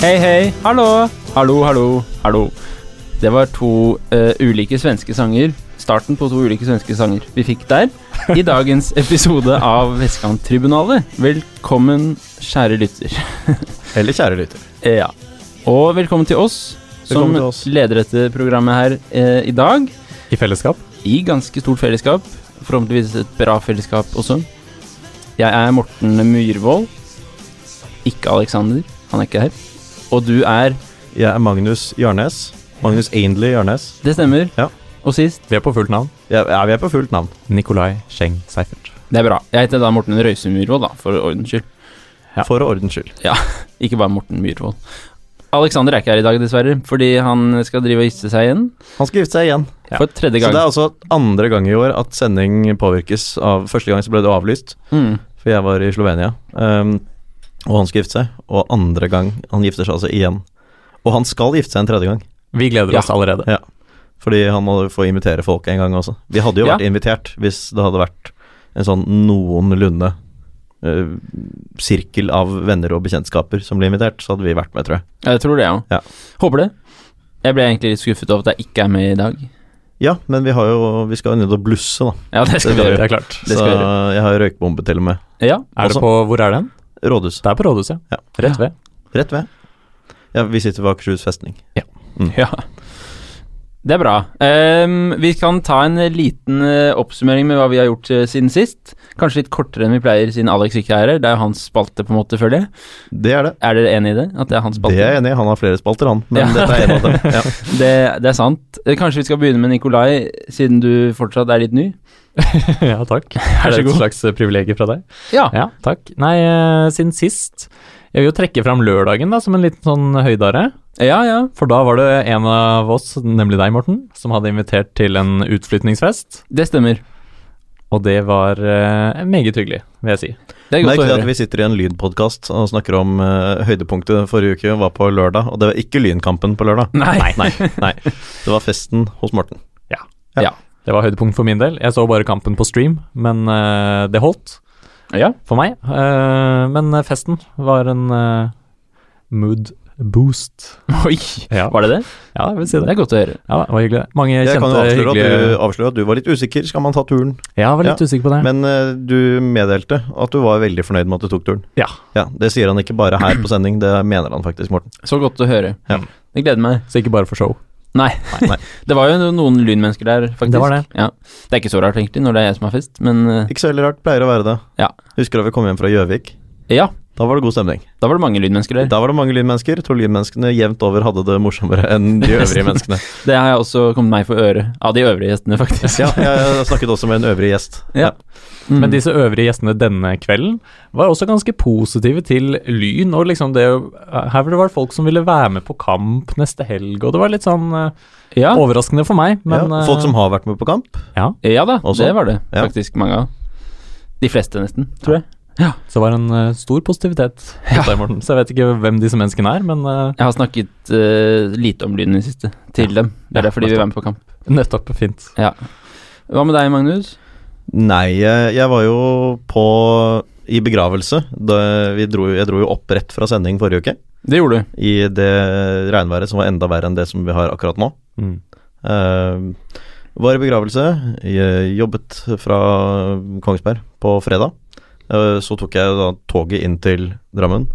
Hei, hei. Hallo. Hallo, hallo, hallo. Det var to eh, ulike svenske sanger. Starten på to ulike svenske sanger vi fikk der. I dagens episode av Vestkanttribunalet. Velkommen, kjære lytter. Eller kjære lytter. Eh, ja. Og velkommen til oss som Velkommen til oss. leder dette programmet her eh, i dag. I fellesskap. I ganske stort fellesskap. Forhåpentligvis et bra fellesskap også. Jeg er Morten Myhrvold. Ikke Alexander. Han er ikke her. Og du er Jeg er Magnus Jarnes. Magnus Ainley Jarnes. Det stemmer. Ja. Og sist Vi er på fullt navn. Jeg, ja, vi er på fullt navn. Nikolai Scheng Seifert. Det er bra. Jeg heter da Morten Røise Myhrvold, da, for ordens skyld. Ja. For ordens skyld. Ikke bare Morten Myhrvold. Alexander er ikke her i dag, dessverre, fordi han skal drive og gifte seg igjen. Han skal gifte seg igjen. Ja. For tredje Så gang. det er altså andre gang i år at sending påvirkes av Første gang så ble det avlyst, mm. for jeg var i Slovenia. ehm, og han skal gifte seg. Og andre gang han gifter seg altså igjen. Og han skal gifte seg en tredje gang, Vi gleder Ja. oss allerede. Ja. fordi han må få invitere folk en gang også. Vi hadde jo Ja. vært invitert hvis det hadde vært en sånn noenlunde eh, sirkel av venner og bekjentskaper som ble invitert, så hadde vi vært med, tror jeg. Ja, Jeg tror det, jeg òg. Ja. Håper det. Jeg ble egentlig litt skuffet over at jeg ikke er med i dag. Ja, men vi, har jo, vi skal jo ned og blusse, da. Ja, det skal vi Det skal Det gjøre. er klart. Det så skal vi jeg har jo røykbombe til og med. Ja. Er Også- det på, hvor er den? Rådhuset. Det er på Rådhuset, Ja. ja. Rett ved. Rett ved. Ja, vi sitter ved Akershus festning. ja. Det er bra. Ehm, vi kan ta en liten eh, oppsummering med hva vi har gjort eh, siden sist. Kanskje litt kortere enn vi pleier, siden Alex ikke er her. Det er jo hans spalte, på en måte, føler jeg. Det er det. Er dere enig i det? At det er hans spalte? Det er jeg enig i. Han har flere spalter, han. Men Ja. dette er en av dem. Ja. Det, det er sant. Eh, Kanskje vi skal begynne med Nikolai, siden du fortsatt er litt ny. ja, takk. Vær Er så det god. et slags eh, privilegium fra deg? Ja. Ja, takk. Nei, eh, siden sist Jeg vil jo trekke fram lørdagen da, som en liten sånn høydare. Ja, ja. For da var det en av oss, nemlig deg, Morten, som hadde invitert til en utflytningsfest. Det stemmer. Og det var eh, meget hyggelig, vil jeg si. Det er Merk godt å det at høre. vi sitter i en lydpodkast og snakker om eh, høydepunktet forrige uke var på lørdag, og det var ikke Lynkampen på lørdag. Nei. Nei, nei. Det var festen hos Morten. Det var høydepunkt for min del. Jeg så bare kampen på stream, men eh, det holdt. Ja. for meg. Eh, men festen var en eh, mood boost. Oi. Ja. Var det det? Ja, jeg vil si Det det. er godt å høre. Ja, det var hyggelig. Mange Jeg kan jo kjente avsløre at, du, hyggelige avsløre at du var litt usikker. Skal man ta turen? Ja, jeg var litt usikker på det. Men eh, du meddelte at du var veldig fornøyd med at du tok turen. Ja. Det sier han ikke bare her på sending, det mener han faktisk, Morten. Så godt å høre. Ja. Det gleder meg. Så ikke bare for show. Nei. Nei. Det var jo noen lynmennesker der, faktisk. Det var det. Ja. det er ikke så rart, egentlig, når det er jeg som har fest, men eh, Ikke så veldig rart, pleier å være det. Ja. Husker da vi kom hjem fra Gjøvik? ja. Da var det god stemning. Da var det mange lynmennesker der. Da var det mange lynmennesker. To lynmenneskene jevnt over hadde det morsommere enn de øvrige menneskene. Det har jeg også kommet meg for øre av de øvrige gjestene, faktisk. Ja, jeg snakket også med en øvrig gjest. Ja. Mm. Men disse øvrige gjestene denne kvelden var også ganske positive til Lyn. Og liksom det å- Her var det vært folk som ville være med på kamp neste helg, og det var litt sånn eh, ja. overraskende for meg, men ja, eh, folk som har vært med på kamp. Ja. ja da, Også. det var det Ja. faktisk mange av. De fleste, nesten, tror jeg. Så det var en eh, stor positivitet hos deg, Morten. Så jeg vet ikke hvem disse menneskene er, men eh, Jeg har snakket eh, lite om lyden i det siste, til dem. Det Ja, er derfor de vil være med på kamp. nettopp fint. Hva med deg, Magnus? Nei, jeg, jeg var jo på i begravelse. Da vi dro, jeg dro jo opp rett fra sending forrige uke. Det gjorde du. I det regnværet som var enda verre enn det som vi har akkurat nå. Mm. Eh, var i begravelse. Jeg jobbet fra Kongsberg på fredag. Eh, så tok jeg da toget inn til Drammen.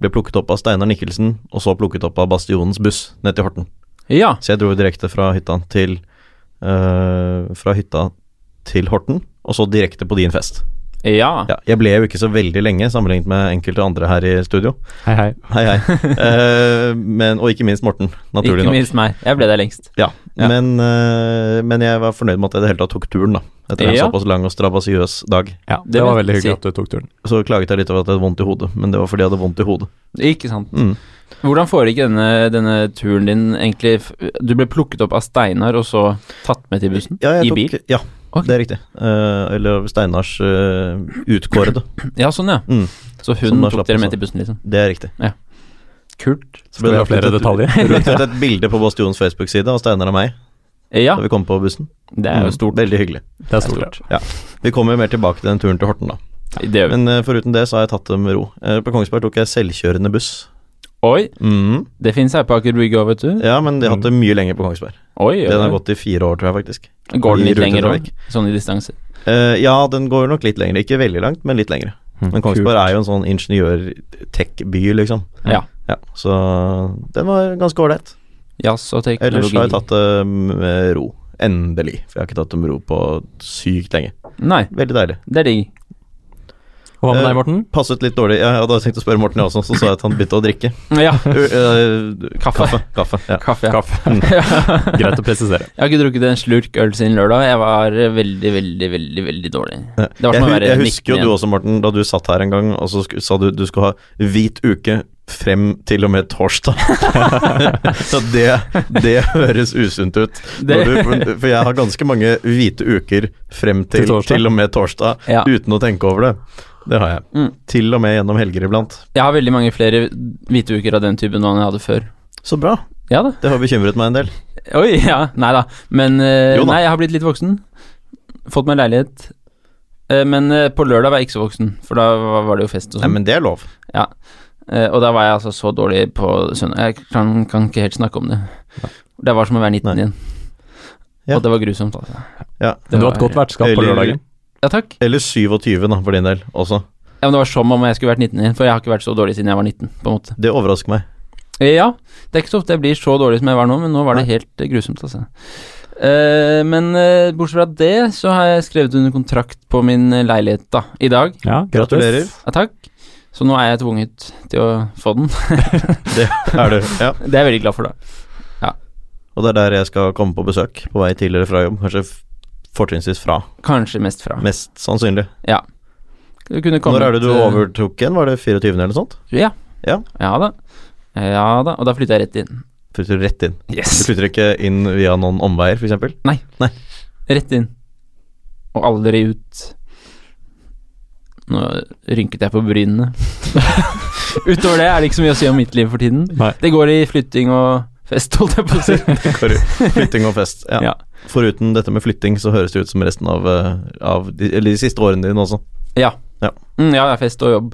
Ble plukket opp av Steinar Nikkelsen, og så plukket opp av Bastionens buss ned til Horten. Ja. Så jeg dro direkte fra hytta til eh, Fra hytta til Horten, og så direkte på din fest. Ja. Ja, jeg ble jo ikke så veldig lenge sammenlignet med enkelte andre her i studio. Hei, hei. Hei, hei. Eh, men, og ikke minst Morten, naturlig Ikke nok. minst meg. Jeg ble der lengst. Ja, Ja. Men, eh, men jeg var fornøyd med at jeg i det hele tatt tok turen, da. Etter en Ja. såpass lang og strabasiøs dag. Ja, Det det var vil veldig jeg si. hyggelig at du tok turen. Så klaget jeg litt over at jeg hadde vondt i hodet, men det var fordi jeg hadde vondt i hodet. Ikke sant. Mm. Hvordan foregikk denne, denne turen din egentlig? F- Du ble plukket opp av Steinar og så tatt med til bussen? Ja, jeg I tok, bil? Ja, Ok. det er riktig. Eh, eller Steinars uh, utkårede. Ja, sånn ja. Mm. Så Som hun da tok slapp sånn. dere med også. til bussen, liksom. Det er riktig. Kult. Så ble Skal vi ha lagt ut flere et- detaljer? lagt ut et bilde på Bastions Facebook-side av Steinar og meg Ja, da vi kom på bussen. det er Mm, jo stort. Veldig hyggelig. Det er stort. Vi kommer jo mer tilbake til den turen til Horten, da. Det gjør vi. Men eh, foruten det så har jeg tatt det med ro. Eh, på Kongsberg tok jeg selvkjørende buss. Oi, Mhm. det fins her på Aker Brygge òg, vet du. Ja, men de har hatt det mye lenger på Kongsberg. Oi, Den har oi. gått i fire år, tror jeg faktisk. Går den i litt lenger òg? rutetrafikk. Sånn i distanse. Eh, ja, den går nok litt lenger. Ikke veldig langt, men litt lengre. Mm. Men Kongsberg er jo en sånn ingeniør-tech-by, liksom. Ja. Ja, så den var ganske ålreit. Jazz og Ellers teknologi. har jeg tatt det med ro. Endelig. For jeg har ikke tatt det med ro på sykt lenge. Nei, Veldig deilig. det er digg. Og hva med Eh, deg, Morten? Passet litt dårlig. Jeg hadde tenkt å spørre Morten, jeg også, så sa jeg at han begynte å drikke. Ja. Eh, Kaffe. Kaffe. kaffe ja. Kaffe. ja. Kaffe. Greit å presisere. Jeg har ikke drukket en slurk øl siden lørdag. Jeg var veldig, veldig, veldig veldig dårlig. Det var som jeg, å hu- være jeg husker jo 19 du igjen. også, Morten, da du satt her en gang og så sku- sa du du skulle ha hvit uke frem til og med torsdag. så det, det høres usunt ut. Det- Når du, for jeg har ganske mange hvite uker frem til, Til torsdag? til og med torsdag Ja. uten å tenke over det. Det har jeg. Mm. Til og med gjennom helger iblant. Jeg har veldig mange flere hvite uker av den typen enn jeg hadde før. Så bra. Ja da. Det har bekymret meg en del. Oi, ja. Nei da. Men eh, Jo da. Nei, jeg har blitt litt voksen. Fått meg leilighet. Eh, men eh, på lørdag var jeg ikke så voksen, for da var- var det jo fest og Nei, sånn. men det er lov. Eh, og da var jeg altså så dårlig på søndag. Jeg kan, kan ikke helt snakke om det. Det var som å være 19 Nei. igjen. Ja. Og det var grusomt, altså. Ja. Du har et godt vertskap på Eller- lørdagen. Ja, takk. Eller 27, da, for din del også. Ja, men Det var som om jeg skulle vært 19 igjen, for jeg har ikke vært så dårlig siden jeg var 19. på en måte Det overrasker meg. Eh, Ja, det er ikke så ofte jeg blir så dårlig som jeg var nå, men nå var det helt eh, grusomt, altså. Eh, men eh, bortsett fra det, så har jeg skrevet under kontrakt på min eh, leilighet da, i dag. Ja, Gratulerer. Ja, takk. Så nå er jeg tvunget til å få den. Er du? Ja. Det er jeg veldig glad for, da. Og det er der jeg skal komme på besøk, på vei til eller fra jobb. Kanskje f- fortrinnsvis fra, Kanskje mest fra. mest sannsynlig. Du kunne kommet, Når er det du eh, overtok igjen? Var det 24. eller noe sånt? Ja. Ja. ja da. Ja da. Og da flytter jeg rett inn. Flytter du rett inn? Du Yes. flytter ikke inn via noen omveier, f.eks.? Rett inn. Og aldri ut. Nå rynket jeg på brynene. Utover det er det ikke så mye å si om mitt liv for tiden. Nei. Det går i flytting og fest, holdt jeg på å si. Flytting og fest. Ja. Ja. Foruten dette med flytting, så høres det ut som resten av, eh, av de, eller de siste årene dine også. Mm, ja, det er fest og jobb.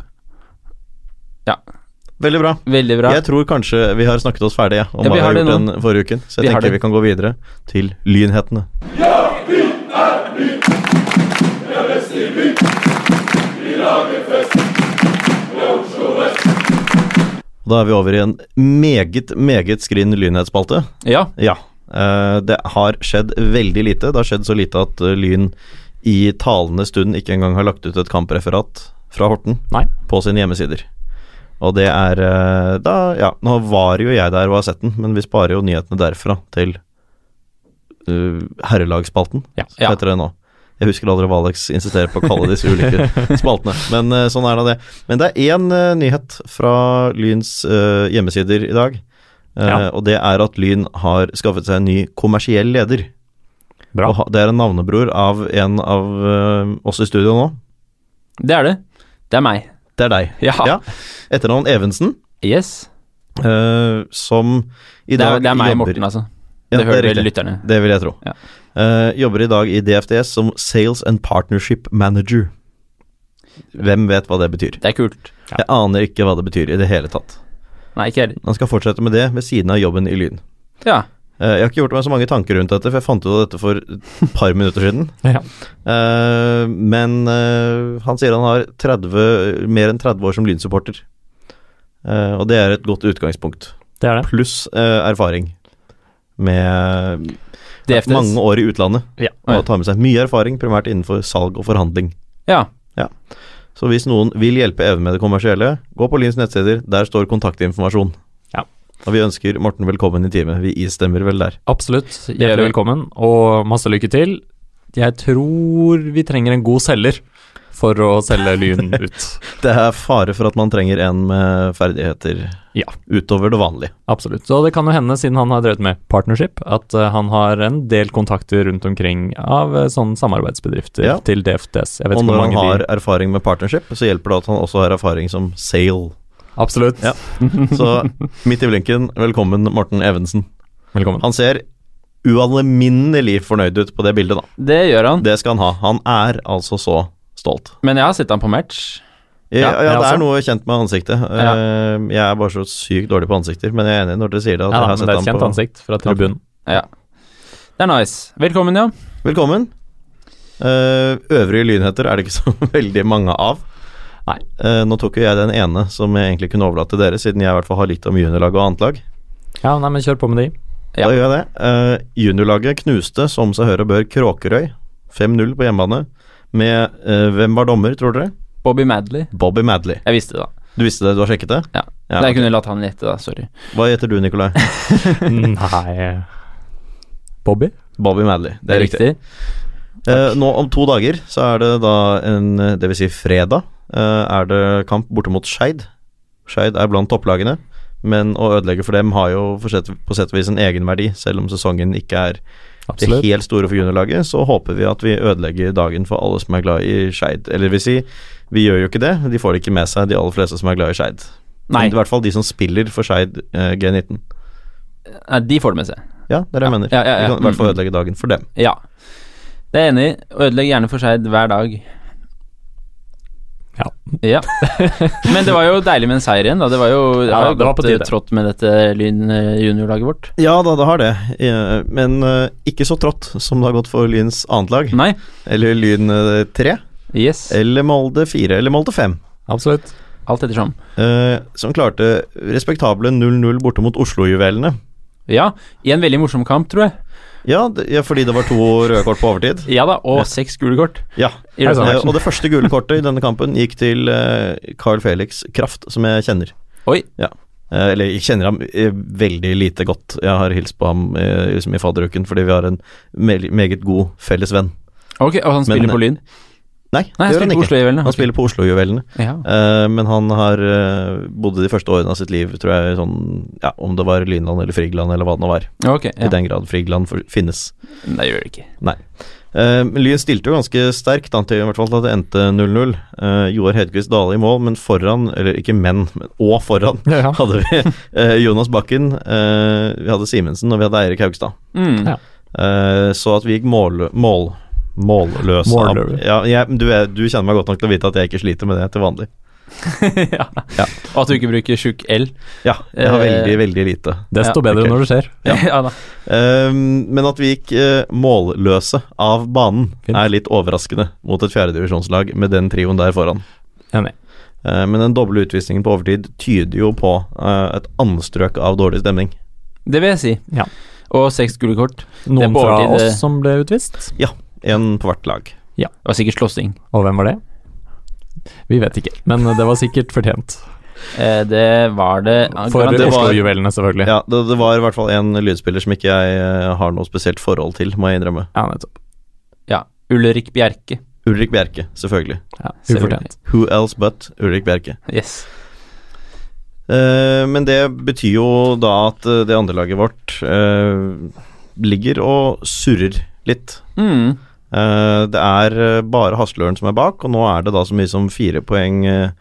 Veldig bra. Veldig bra. Jeg tror kanskje vi har snakket oss ferdige om Ja, vi hva vi har har det gjort nå. den forrige uken, så jeg Vi har tenker det. vi kan gå videre til lynhetene. Da er vi over i en meget, meget skrin lynhetsspalte. Ja, Ja. eh, det har skjedd veldig lite. Det har skjedd så lite at eh, Lyn i talende stund ikke engang har lagt ut et kampreferat fra Horten Nei. på sine hjemmesider. Og det er eh, da Ja, nå var jo jeg der og har sett den, men vi sparer jo nyhetene derfra til eh, herrelagsspalten, Ja. Ja. heter det nå. Jeg husker aldri hva Alex insisterer på å kalle disse ulike spaltene, men eh, sånn er da det. Men det er én eh, nyhet fra Lyns eh, hjemmesider i dag. eh, Ja. Og det er at Lyn har skaffet seg en ny kommersiell leder. Bra. Og ha- det er en navnebror av en av eh, oss i studio nå. det er det. Det er meg. Det er deg. Ja. Ja. Etternavn Evensen, Yes. eh, som i Det dag er, det er meg, jobber, Morten, altså. Det Ja, det er hører riktig. vel lytterne. Det vil jeg tro. Ja. Eh, jobber i dag i DFDS som Sales and Partnership Manager. Hvem vet hva det betyr? Det er kult. Jeg aner ikke hva det betyr i det hele tatt. Nei, ikke heller. Han skal fortsette med det ved siden av jobben i Lyn. Ja. Eh, jeg har ikke gjort meg så mange tanker rundt dette, for jeg fant ut av dette for et par minutter siden. Ja. Eh, men eh, han sier han har 30, mer enn 30 år som Lyn-supporter. Eh, og det er et godt utgangspunkt. Det er det. pluss eh, erfaring med DFDS. mange år i utlandet. Ja. Og tar med seg mye erfaring, primært innenfor salg og forhandling. Ja. Så hvis noen vil hjelpe Even med det kommersielle, gå på Lyns nettsider. Der står kontaktinformasjon. Ja. Og vi ønsker Morten velkommen i teamet. Vi istemmer vel der. Absolutt. Hjertelig velkommen, og masse lykke til. Jeg tror vi trenger en god selger for å selge Lyn ut. Det er fare for at man trenger en med ferdigheter Ja. utover det vanlige. Absolutt. Så det kan jo hende, siden han har drevet med partnership, at eh, han har en del kontakter rundt omkring av eh, sånne samarbeidsbedrifter Ja. til DFDS. Jeg vet Og ikke hvor når han mange har de erfaring med partnership, så hjelper det at han også har erfaring som sale. Absolutt. Ja. Så midt i blinken, velkommen Morten Evensen. Velkommen. Han ser ualminnelig fornøyd ut på det bildet, da. Det gjør han. Det skal han ha. Han er altså så stolt. Men jeg har sett han på match. Ja, ja, jeg det også. er noe kjent med ansiktet. Eh, Jeg er bare så sykt dårlig på ansikter, men jeg er enig når dere sier det. At Ja, jeg da, har men sett det er et ham kjent på- ansikt fra tribunen. Det er nice. Velkommen, ja. Velkommen. Eh, øvrige lynheter er det ikke så veldig mange av. Nei. Eh, nå tok jo jeg den ene som jeg egentlig kunne overlate til dere, siden jeg i hvert fall har litt om juniorlaget og annet lag. Ja, nei, men kjør på med de. Ja. Da gjør jeg det. Eh, juniorlaget knuste, som seg hør og bør, Kråkerøy. 5-0 på hjemmebane. Med eh, hvem var dommer, tror dere? Bobby Madley. Bobby Madley. Jeg visste det, da. Du visste det, du har sjekket det? Ja. Ja, Jeg kunne latt han gjette, da. Sorry. Hva heter du, Nikolai? Nei Bobby? Bobby Madley. Det er riktig. Eh, nå om to dager så er det da en eh, Det vil si fredag eh, er det kamp borte mot Skeid. Skeid er blant topplagene, men å ødelegge for dem har jo for sett, på sett og vis en egenverdi, selv om sesongen ikke er det Absolutt. helt store for juniorlaget. Så håper vi at vi ødelegger dagen for alle som er glad i Skeid. Eller det vil si, vi gjør jo ikke det. De får det ikke med seg, de aller fleste som er glad i Skeid. Nei. Men I hvert fall de som spiller for Skeid eh, G19. Nei, de får det med seg. Ja, det er det jeg mener. Ja, ja, ja. Mm. Vi kan i hvert fall ødelegge dagen for dem. Ja. Det er jeg enig i. Ødelegg gjerne for Skeid hver dag. Ja. Ja. Men det var jo deilig med en seier igjen, da. Det var jo det Ja, har jo det var på gått eh, tide. trått med dette Lyn eh, juniorlaget vårt. Ja da, det har det, Eh, men eh, ikke så trått som det har gått for Lyns annet lag. Nei. Eller Lyn eh, 3, Yes. eller Molde 4, eller Molde 5. Absolutt. Alt ettersom. eh, som klarte respektable 0-0 borte mot Oslo-juvelene. Ja. I en veldig morsom kamp, tror jeg. Ja, det, ja, fordi det var to røde kort på overtid. Ja da. Og seks gule kort. Ja, I Er løpet det av eh, matchen. Og det første gule kortet i denne kampen gikk til eh, Carl Felix Kraft, som jeg kjenner. Oi. Ja. Eh, eller jeg kjenner ham eh, veldig lite godt. Jeg har hilst på ham eh, liksom i fadderuken fordi vi har en me meget god felles venn. Ok, og han spiller Men- på Lyn? Nei, Nei, det han spiller gjør han på ikke. Oslo-juvelene. Han spiller på Oslo-juvelene, Ja. eh, men han har eh, bodde de første årene av sitt liv, tror jeg, sånn Ja, om det var Lynland eller Frigland eller hva det nå var, Ok, ja. i den grad Frigland for, finnes. Nei, gjør det ikke. Eh, men Lyn stilte jo ganske sterkt an til i hvert fall at det endte 0-0. Eh, Joar Hedquist Dale i mål, men foran, eller ikke men, men og foran, Ja. hadde vi eh, Jonas Bakken, eh, vi hadde Simensen, og vi hadde Eirik Haugstad. Mm. Ja. Eh, så at vi gikk mål, mål, målløse. Målløse. Ja, jeg, du, er, du kjenner meg godt nok til å vite at jeg ikke sliter med det til vanlig. ja. Ja. Og at du ikke bruker tjukk L. Ja, jeg har Eh, veldig, veldig lite. Desto Ja, bedre ok. når det skjer. Ja. da. Ehm, men at vi gikk eh, målløse av banen, Fint. er litt overraskende mot et fjerdedivisjonslag med den trioen der foran. Enig. Eh, men den doble utvisningen på overtid tyder jo på eh, et anstrøk av dårlig stemning. Det vil jeg si. Ja. Og seks gule kort. Det er Noen på fra overtid, eh. det- oss som ble utvist. En på hvert lag. Det var sikkert slåssing. Og hvem var det? Vi vet ikke, men eh, det var sikkert fortjent. Eh, det var det For det var- Oslo-juvelene, selvfølgelig. Ja, det, det var i hvert fall en lydspiller som ikke jeg eh, har noe spesielt forhold til, må jeg innrømme. Ja, nettopp. Ja. Ulrik Bjerke. Ulrik Bjerke, selvfølgelig. Ja, Selvfølgelig. ufortjent. Who else but Ulrik Bjerke. Yes. Eh, men det betyr jo da at eh, det andre laget vårt eh, ligger og surrer litt. Mm. Eh, det er eh, bare Hasløren som er bak, og nå er det da så mye som fire poeng eh,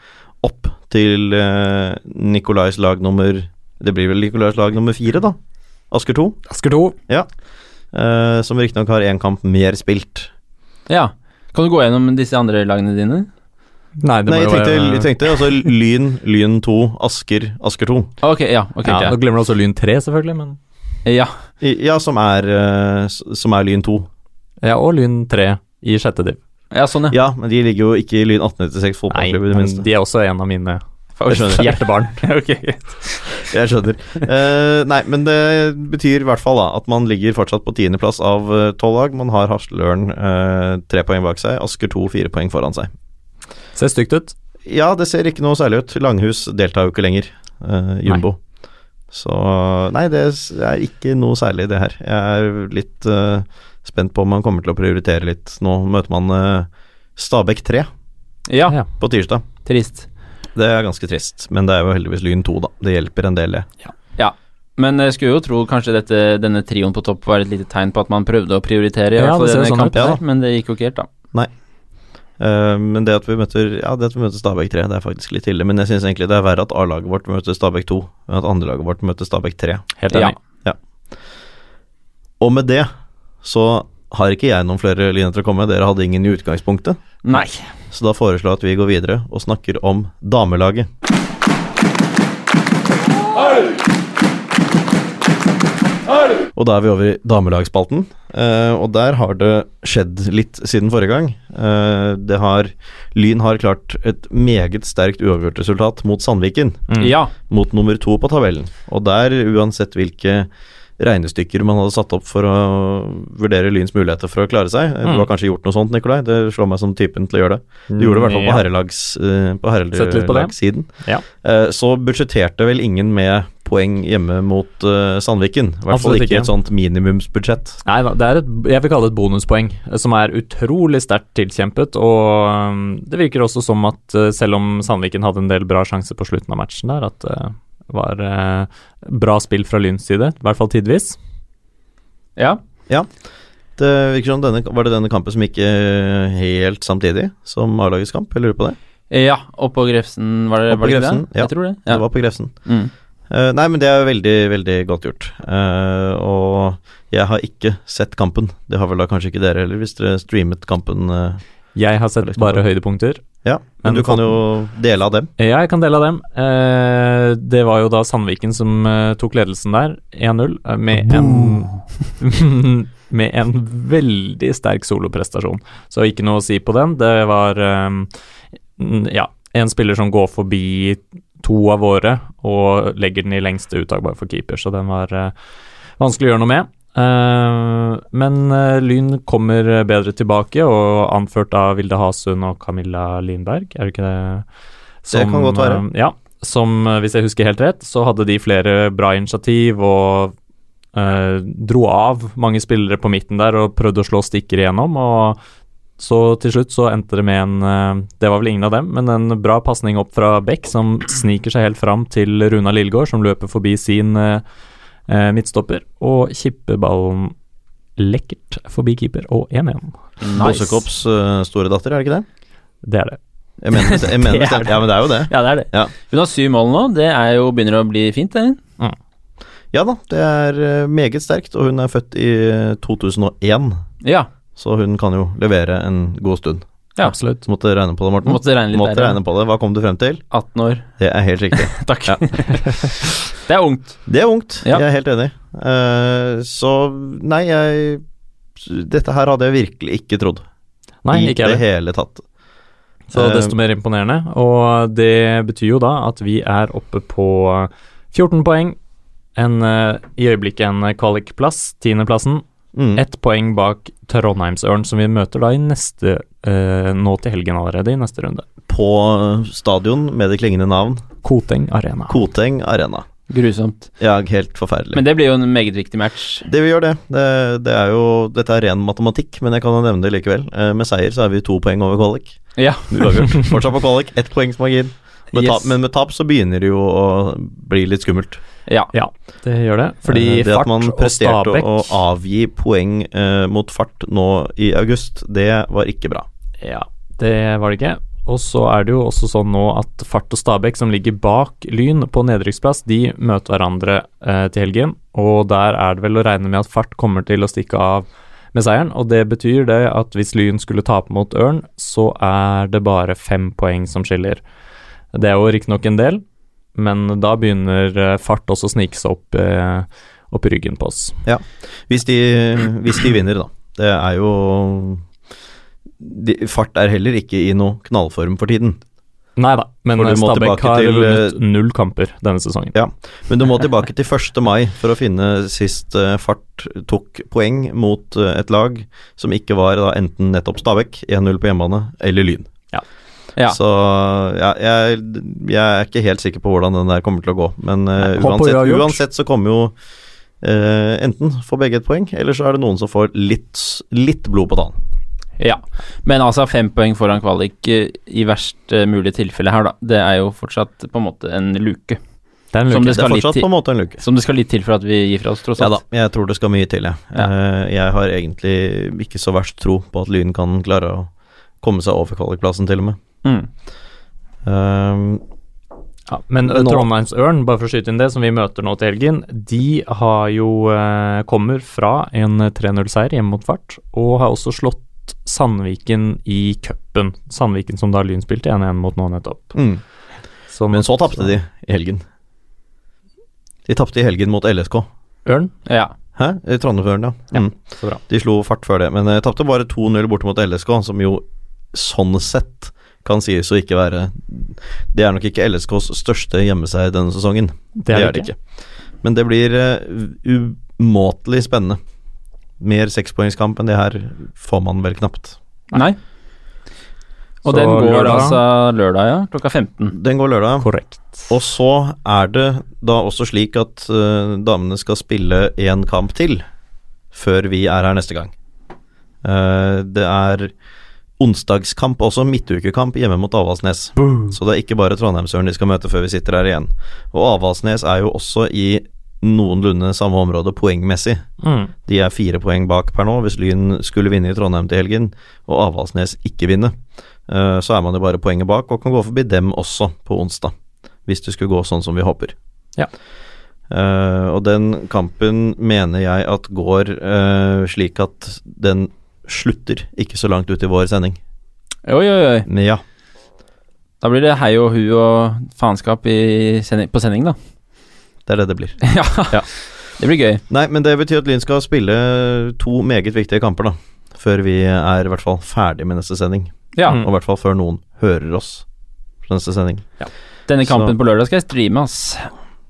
opp til eh, Nikolais lag nummer Det blir vel Nikolais lag nummer fire, da. Asker 2, Asker 2. eh, som riktignok har én kamp mer spilt. Ja. Kan du gå gjennom disse andre lagene dine? Nei, det må Nei, jeg jo tenkte, være jeg tenkte altså Lyn, Lyn 2, Asker, Asker 2. Ok, ja. ok, ja, Nå ok. glemmer du også Lyn 3, selvfølgelig, men ja. I, ja, som er, eh, s- som er Lyn 2. Ja, og Lyn 3 i sjette div. ja, sånn, ja. Ja, men de ligger jo ikke i Lyn 1896 fotballklubb, i det men minste. de er også en av mine Faen, skjønner jeg. hjertebarn. Ok. Jeg skjønner. Eh, nei, men det betyr i hvert fall da at man ligger fortsatt på tiendeplass av eh, tolv lag. Man har Haslørn eh, tre poeng bak seg, Asker to fire poeng foran seg. Ser stygt ut. Ja, det ser ikke noe særlig ut. Langhus deltar jo ikke lenger, eh, jumbo. Så nei, det s- er ikke noe særlig det her. Jeg er litt eh, spent på om man kommer til å prioritere litt. Nå møter man eh, Stabæk 3 Ja, Ja. på tirsdag. trist. Det er ganske trist, men det er jo heldigvis Lyn 2, da. Det hjelper en del, det. Men jeg skulle jo tro kanskje dette, denne trioen på topp var et lite tegn på at man prøvde å prioritere, i Ja, hvert fall det ser denne sånn ut. kampen Ja, her, men det gikk jo ikke helt, da. Eh, men det at vi møter Ja, det at vi møter Stabæk 3, det er faktisk litt ille. Men jeg syns egentlig det er verre at A-laget vårt møter Stabæk 2, enn at andrelaget vårt møter Stabæk 3. Helt enig. Og med det så har ikke jeg noen flere linjer til å komme med. Dere hadde ingen i utgangspunktet. Nei. så da foreslår jeg at vi går videre og snakker om damelaget. Og da er vi over i damelagsspalten, eh, og der har det skjedd litt siden forrige gang. Eh, det har Lyn har klart et meget sterkt uavgjort resultat mot Sandviken, Mm. Ja. mot nummer to på tabellen. Og der, uansett hvilke regnestykker man hadde satt opp for å vurdere Lyns muligheter for å klare seg eh, Du har kanskje gjort noe sånt, Nikolai? Det slår meg som typen til å gjøre det. Du gjorde det i hvert fall på Ja. herrelags eh, På Sett litt på det. herrelagssiden. Ja. Eh, Så budsjetterte vel ingen med poeng hjemme mot eh, Sandviken. I hvert fall Absolutt ikke ikke. et sånt minimumsbudsjett. Nei da, det er et, jeg vil kalle det et bonuspoeng, eh, som er utrolig sterkt tilkjempet. Og eh, det virker også som at eh, selv om Sandviken hadde en del bra sjanser på slutten av matchen der, at det var eh, bra spill fra Lyns side, i hvert fall tidvis. ja. Det virker som denne, Var det denne kampen som gikk eh, helt samtidig som A-lagets kamp? Jeg lurer på det. Ja, oppå Grefsen, var det, Oppå Eh, var det ikke Grefsen, det? ja. Jeg tror det. Det var på Grefsen. Mm. Eh, nei, men det er jo veldig, veldig godt gjort. Eh, og jeg har ikke sett kampen. Det har vel da kanskje ikke dere heller, hvis dere streamet kampen. eh. Jeg har sett Veldig bare spennende. høydepunkter. ja, men, Men du kan jo dele av dem. Ja, jeg kan dele av dem. Eh, det var jo da Sandviken som eh, tok ledelsen der, 1-0, eh, med en Med en veldig sterk soloprestasjon, så ikke noe å si på den. Det var eh, mm, ja, en spiller som går forbi to av våre og legger den i lengste uttak bare for keeper, så den var eh, vanskelig å gjøre noe med. Eh, men eh, Lyn kommer eh, bedre tilbake, og anført av Vilde Hasund og Camilla Lindberg, er det ikke det? kan godt være. eh, ja, som, eh, hvis jeg husker helt rett, så hadde de flere bra initiativ og eh, dro av mange spillere på midten der og prøvde å slå stikker igjennom. Og så til slutt så endte det med en eh, Det var vel ingen av dem, men en bra pasning opp fra Beck som sniker seg helt fram til Runa Lillegård, som løper forbi sin eh, eh, midtstopper og kipper ballen lekkert forbi keeper og 1-1. Nice. Bossekops eh, store datter, er det ikke det? Det er det. Jeg mener, bestemt- jeg mener Det er bestemt, ja, men det er jo det. Ja, det er det. Ja. Hun har syv mål nå. Det er jo, begynner å bli fint, det. Ja da, det er eh, meget sterkt, og hun er født i eh, 2001, Ja. så hun kan jo levere en god stund. Ja. Absolutt. Så måtte jeg regne på det, Morten. Måtte regne litt Måtte der, ja. regne på det. Hva kom du frem til? 18 år. Det er helt riktig. Takk. Ja. det er ungt. Det er ungt, Ja. jeg er helt enig. Eh, så nei, jeg Dette her hadde jeg virkelig ikke trodd. Nei, I ikke jeg det hele heller. tatt. Så Eh, desto mer imponerende. Og det betyr jo da at vi er oppe på 14 poeng. En, eh, I øyeblikket en kvalikplass, tiendeplassen. mm. Ett poeng bak Trondheimsørn, som vi møter da i neste eh, Nå til helgen allerede, i neste runde. På stadion med det klingende navn Koteng Ah. Arena. Koteng Arena. Grusomt. Ja, helt forferdelig. Men det blir jo en meget viktig match. Det vi gjør det. det. Det er jo Dette er ren matematikk, men jeg kan jo nevne det likevel. Eh, med seier så er vi to poeng over kvalik. Ja. Uavgjort. Fortsatt på kvalik, ett poengs margin. Med Yes. tap, men med tap så begynner det jo å bli litt skummelt. ja. Ja, det gjør det. Fordi Eh, det at Fart man og presterte Stabæk å avgi poeng eh, mot Fart nå i august, det var ikke bra. Ja, det var det ikke. Og så er det jo også sånn nå at Fart og Stabæk, som ligger bak Lyn på nedrykksplass, de møter hverandre eh, til helgen. Og der er det vel å regne med at Fart kommer til å stikke av med seieren. Og det betyr det at hvis Lyn skulle tape mot Ørn, så er det bare fem poeng som skiller. Det er jo riktignok en del, men da begynner eh, Fart også å snike seg opp, eh, opp i ryggen på oss. Hvis de, hvis de vinner, da. Det er jo de, Fart er heller ikke i noe knallform for tiden. Nei da, men For du eh, må Stabæk tilbake har til, eh, vunnet null kamper denne sesongen. Ja, men du må tilbake til 1. mai for å finne sist eh, Fart tok poeng mot eh, et lag som ikke var da enten nettopp Stabæk, 1-0 på hjemmebane, eller Lyn. Ja. Så ja, jeg, jeg er ikke helt sikker på hvordan den der kommer til å gå, men eh, Håper uansett, uavgjort. uansett så kommer jo eh, enten får begge et poeng, eller så er det noen som får litt, litt blod på tann. Ja. Men altså, fem poeng foran kvalik eh, i verst eh, mulig tilfelle her, da. Det er jo fortsatt på en måte en luke. Det er en Som det Det luke. er skal litt fortsatt til. på en måte en luke. Som det skal litt til for at vi gir fra oss, tross Ja da, alt. jeg tror det skal mye til, jeg. Ja. Eh, Jeg har egentlig ikke så verst tro på at Lyn kan klare å komme seg over kvalikplassen, til og med. Mm. Ehm, Ja, men Men nå- Trondheimsørn, bare for å skyte inn det, som vi møter nå til helgen, de har jo, eh, kommer fra en 3-0-seier hjemme mot Fart, og har også slått møtt Sandviken i cupen. Sandviken som da Lyn spilte 1-1 mot nå nettopp. Mm. Så Men mot- så tapte de i helgen. De tapte i helgen mot LSK. Ørn. Ja. Hæ? I Trondheimsøren, ja. Ja. Mm. Så bra. De slo fart før det, men eh, tapte bare 2-0 borte mot LSK, som jo sånn sett kan sies å ikke være Det er nok ikke LSKs største gjemmeseier denne sesongen. Det er det ikke. Men det blir eh, u- umåtelig spennende. Mer sekspoengskamp enn det her får man vel knapt. Nei. Og Så den går lørdag- altså lørdag, ja. Klokka 15. Den går lørdag. Korrekt. Og så er det da også slik at eh, damene skal spille én kamp til før vi er her neste gang. Eh, det er onsdagskamp også, midtukekamp hjemme mot Avaldsnes. Så det er ikke bare Trondheimsøren de skal møte før vi sitter her igjen. Og Avaldsnes er jo også i noenlunde samme område poengmessig. Mm. De er fire poeng bak per nå. Hvis Lyn skulle vinne i Trondheim til helgen, og Avaldsnes ikke vinne, eh, så er man jo bare poenget bak og kan gå forbi dem også på onsdag. Hvis det skulle gå sånn som vi håper. Ja. Eh, og den kampen mener jeg at går eh, slik at den slutter ikke så langt ut i vår sending. Oi, oi, oi. Men ja. Da blir det hei og hu og faenskap i sending, på sending, da. Det er det det blir. ja. Det blir gøy. Nei, men det betyr at Lyn skal spille to meget viktige kamper, da. Før vi er i hvert fall ferdig med neste sending. Ja. Mm. Og i hvert fall før noen hører oss på neste sending. Denne kampen Så- på lørdag skal jeg streame, ass.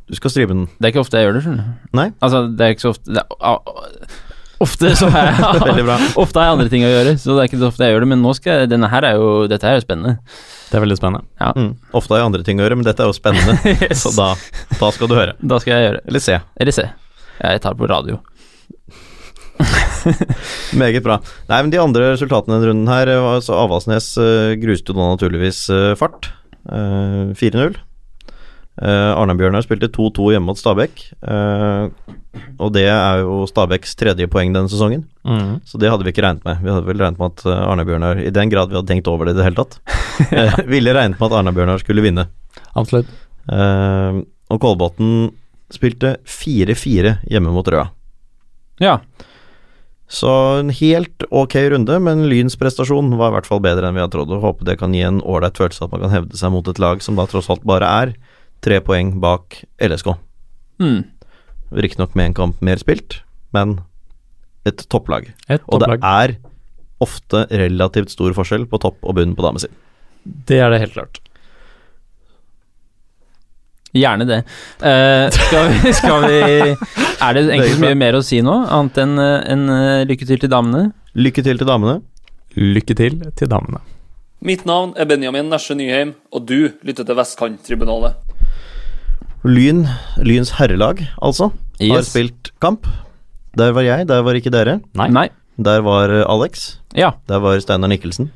Du skal streame den. Det er ikke ofte jeg gjør det, skjønner du. Nei. Altså, det er ikke så ofte det er, a- a- Ofte så har jeg Veldig bra. Ofte har jeg andre ting å gjøre, så det er ikke så ofte jeg gjør det. Men nå skal jeg, denne her er jo, dette her er jo spennende. Det er veldig spennende. Mm. Ofte har jeg andre ting å gjøre, men dette er jo spennende. Så da, da skal du høre. Da skal jeg gjøre det. Eller se. Eller se. Jeg tar på radio. Meget bra. Nei, men de andre resultatene denne runden her var altså Avaldsnes eh, gruste jo da naturligvis eh, fart. Eh, 4-0. Uh, Arnheim-Bjørnar spilte 2-2 hjemme mot Stabæk. Eh, og det er jo Stabæks tredje poeng denne sesongen. Mm. Så det hadde vi ikke regnet med. Vi hadde vel regnet med at eh, Arne-Bjørnar I den grad vi hadde tenkt over det i det hele tatt. eh, ville regnet med at Arne-Bjørnar skulle vinne. Absolutt. Eh, og Kolbotn spilte 4-4 hjemme mot Røa. Ja. Så en helt ok runde, men Lyns prestasjon var i hvert fall bedre enn vi hadde trodd. Og håper det kan gi en ålreit følelse at man kan hevde seg mot et lag som da tross alt bare er tre poeng bak LSK. Mm. Riktignok med en kamp mer spilt, men et topplag. Et Og det topplag. er ofte relativt stor forskjell på topp og bunn på damesiden. Det er det helt klart. Gjerne det. Eh, skal, vi, skal vi Er det egentlig så mye mer å si nå, annet enn eh, en, eh, lykke til til damene? Lykke til til damene. Lykke til til damene. Mitt navn er Benjamin Nesje Nyheim, og du lytter til Vestkanttribunalet. Lyn, Lyns herrelag, altså, har Yes. spilt kamp. Der var jeg, der var ikke dere. Nei. Der var eh, Alex. Ja. Der var Steinar Nikkelsen.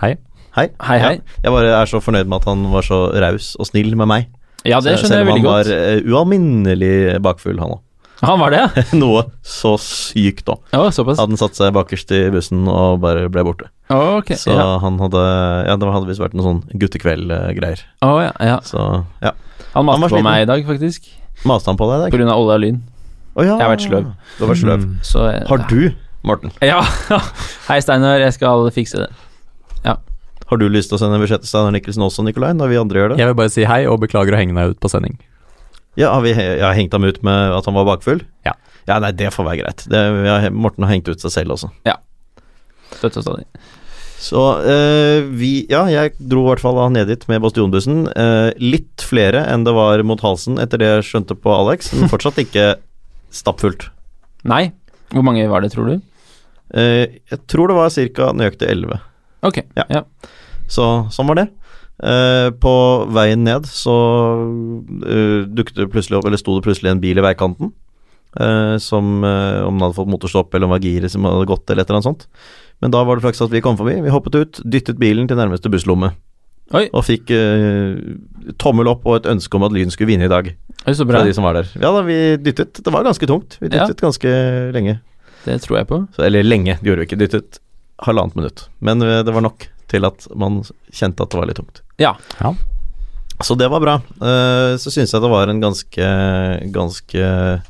Hei. Hei. Hei, hei. Ja, jeg bare er så fornøyd med at han var så raus og snill med meg. Ja, det skjønner jeg Selv om veldig han var godt. eh, ualminnelig bakfull, han òg. Han var det, ja? Noe så sykt òg. Å, såpass. Hadde han satt seg bakerst i bussen og bare ble borte. Ok. Så ja. han hadde Ja, det hadde visst vært noen sånn guttekveld-greier. Å, ja, ja. Så ja. Han Han var maste på sliten. meg i dag, faktisk. Maste han på deg i På dag? grunn av olje og lyn. Å ja. Jeg har vært sløv. Du har vært sløv. Mm. Så jeg, Har du, Morten, Ja. Hei, Steinar, jeg skal fikse det. har du lyst til å sende en beskjed til Steinar Nikkelsen også, Nikolai, når vi andre gjør det? Jeg vil bare si hei og beklager å henge deg ut på sending. Ja, har vi, jeg har hengt ham ut med at han var bakfull? Ja. Ja, nei, det får være greit. Det, vi har, Morten har hengt ut seg selv også. Støtt og stadig. Så eh, vi Ja, jeg dro i hvert fall da ned dit med bastionbussen. Eh, litt flere enn det var mot halsen, etter det jeg skjønte på Alex, men fortsatt ikke stappfullt. Nei. Hvor mange var det, tror du? Eh, jeg tror det var ca. nøyaktig 11. Ok. Så sånn var det. Eh, på veien ned så eh, dukket det plutselig opp, eller sto det plutselig en bil i veikanten. eh, som eh, om den hadde fått motorstopp, eller om det var giret som hadde gått, eller et eller annet sånt. Men da var det flaks at vi kom forbi. Vi hoppet ut, dyttet bilen til nærmeste busslomme. Oi. Og fikk eh, tommel opp og et ønske om at Lyn skulle vinne i dag. Oi, så Fra bra. de som var der. Ja da, vi dyttet. Det var ganske tungt. Vi Ja. dyttet ganske lenge. Det tror jeg på. Så, eller lenge, det gjorde vi ikke. Dyttet halvannet minutt. Men eh, det var nok til at man kjente at det var litt tungt. Ja. Ja. Så det var bra. Eh, Så syns jeg det var en ganske, ganske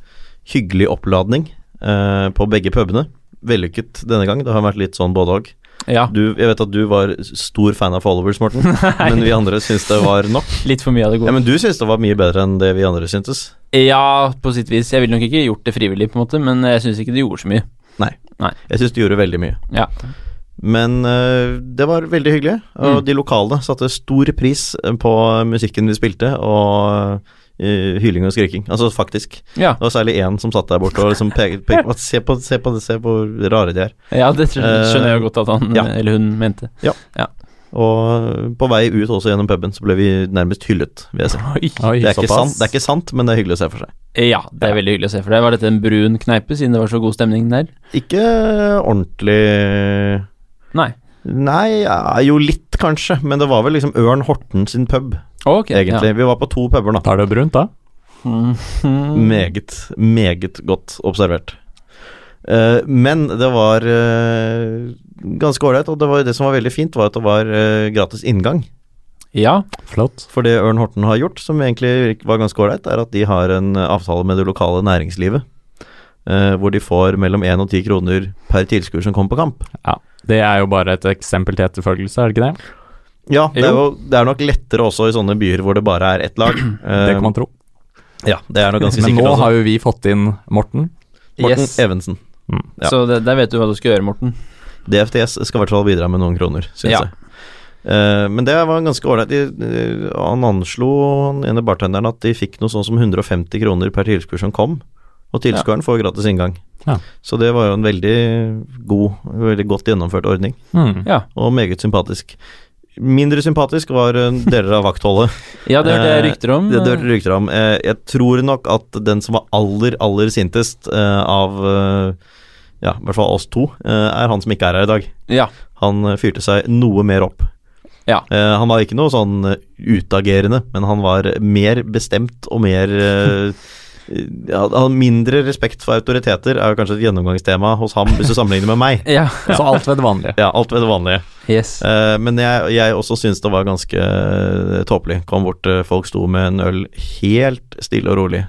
hyggelig oppladning eh, på begge pubene. vellykket denne gang. Det har vært litt sånn både og. Ja, Du, jeg vet at du var stor fan av followers, Morten, men vi andre syns det var nok. litt for mye av det Ja, gode. Men du syns det var mye bedre enn det vi andre syntes. Ja, på sitt vis. Jeg ville nok ikke gjort det frivillig, på en måte, men jeg syns ikke det gjorde så mye. Jeg syns du gjorde veldig mye. Ja. Men øh, det var veldig hyggelig, og Mm. de lokale satte stor pris på musikken vi spilte, og øh, hyling og skriking. Altså faktisk. Ja, Det var særlig én som satt der borte og liksom pekte pek, på at se på, se på det, se på hvor rare de er. ja det skjø- skjønner jeg jo godt at han Eh, Ja. eller hun mente. Og eh, på vei ut også gjennom puben så ble vi nærmest hyllet, vil jeg si. Oi. Oi, Det er, ikke såpass. sant, det er ikke sant, men det er hyggelig å se for seg. Ja, det er veldig hyggelig å se for deg. Var dette en brun kneipe, siden det var så god stemning der? Ikke eh, ordentlig Nei. Nei, ja, jo litt kanskje, men det var vel liksom Ørn Horten sin pub, Ok. egentlig. Vi var på to puber, da. Da er det jo brunt, da. Ja. Meget, meget godt observert. Eh, men det var eh, ganske ålreit, og det, var, det som var veldig fint, var at det var eh, gratis inngang. ja. Flott. For det Ørn Horten har gjort, som egentlig var ganske ålreit, er at de har en eh, avtale med det lokale næringslivet. eh, hvor de får mellom 1 og 10 kroner per tilskuer som kommer på kamp. Det er jo bare et eksempel til etterfølgelse, er det ikke det? Ja, det er, jo, Jo. det er nok lettere også i sånne byer hvor det bare er ett lag. Det Eh, kan man tro. Ja, det er nok ganske Men sikkert. nå også. har jo vi fått inn Morten. Morten Yes. Evensen. Ja. Så det, der vet du hva du skal gjøre, Morten. DFTS skal i hvert fall bidra med noen kroner, syns Ja. jeg. Eh, men det var ganske ålreit. De- eh, Han anslo han ene bartenderen at de fikk noe sånn som 150 kroner per tilskuer som kom, og tilskueren får gratis inngang. Ja. Så det var jo en veldig god, veldig godt gjennomført ordning, Mm. Ja, og meget sympatisk. Mindre sympatisk var eh, deler av vaktholdet. ja det hørte jeg Eh, rykter om. Det, det hørte rykter om. Eh, Jeg tror nok at den som var aller, aller sintest eh, av eh, ja, i hvert fall oss to, eh, er han som ikke er her i dag. Ja. Han eh, fyrte seg noe mer opp. Ja. Eh, han var ikke noe sånn eh, utagerende, men han var mer bestemt og mer eh, ja, han- Mindre respekt for autoriteter er jo kanskje et gjennomgangstema hos ham, hvis du sammenligner med meg. Ja. Så alt ved det vanlige. Ja, alt ved det vanlige. Yes. Eh, men jeg, jeg også syns det var ganske eh, tåpelig. Kom bort, eh, folk sto med en øl helt stille og rolig,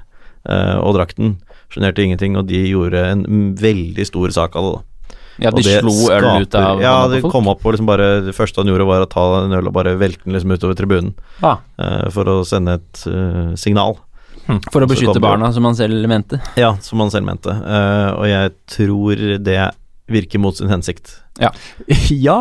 eh, og drakk den. Sjenerte ingenting, og de gjorde en veldig stor sak av det. da. Ja, de og det slo øl ut skaper- av Ja, hånda de på folk. kom opp og liksom bare Det første han gjorde, var å ta en øl og bare velte den liksom utover tribunen Ah, eh, for å sende et eh, signal. for å Så kom beskytte det- barna, som han selv mente. Ja, som han selv mente. Eh, og jeg tror det virker mot sin hensikt. ja,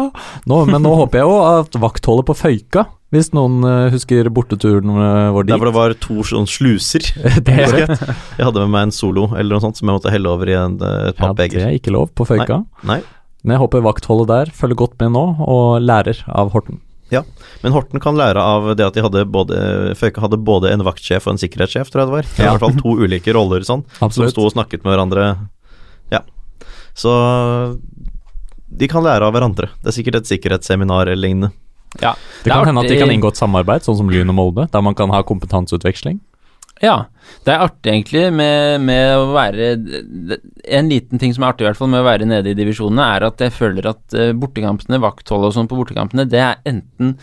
nå, men nå håper jeg jo at vaktholdet på Føyka, hvis noen eh, husker borteturen eh, vår Der dit hvor det var to sånne sluser. Det er Jeg hadde med meg en solo eller noe sånt som jeg måtte helle over i en, eh, et Ja, det pappbeger. er ikke lov på Føyka. Nei. Men jeg håper vaktholdet der følger godt med nå, og lærer av Horten. Men Horten kan lære av det at de hadde både Føyka hadde både en vaktsjef og en sikkerhetssjef, tror jeg det var. Det var I Ja. hvert fall to ulike roller sånn, som Absolutt. sto og snakket med hverandre. Ja. Så de kan lære av hverandre. Det er sikkert et sikkerhetsseminar eller lignende. Det kan Det er hende at de artig- kan inngå et samarbeid, sånn som Lyn og Molde, der man kan ha kompetanseutveksling. Ja. Det er artig, egentlig, med, med å være det- En liten ting som er artig, i hvert fall, med å være nede i divisjonene, er at jeg føler at eh, bortekampene, vaktholdet og sånn på bortekampene, det er enten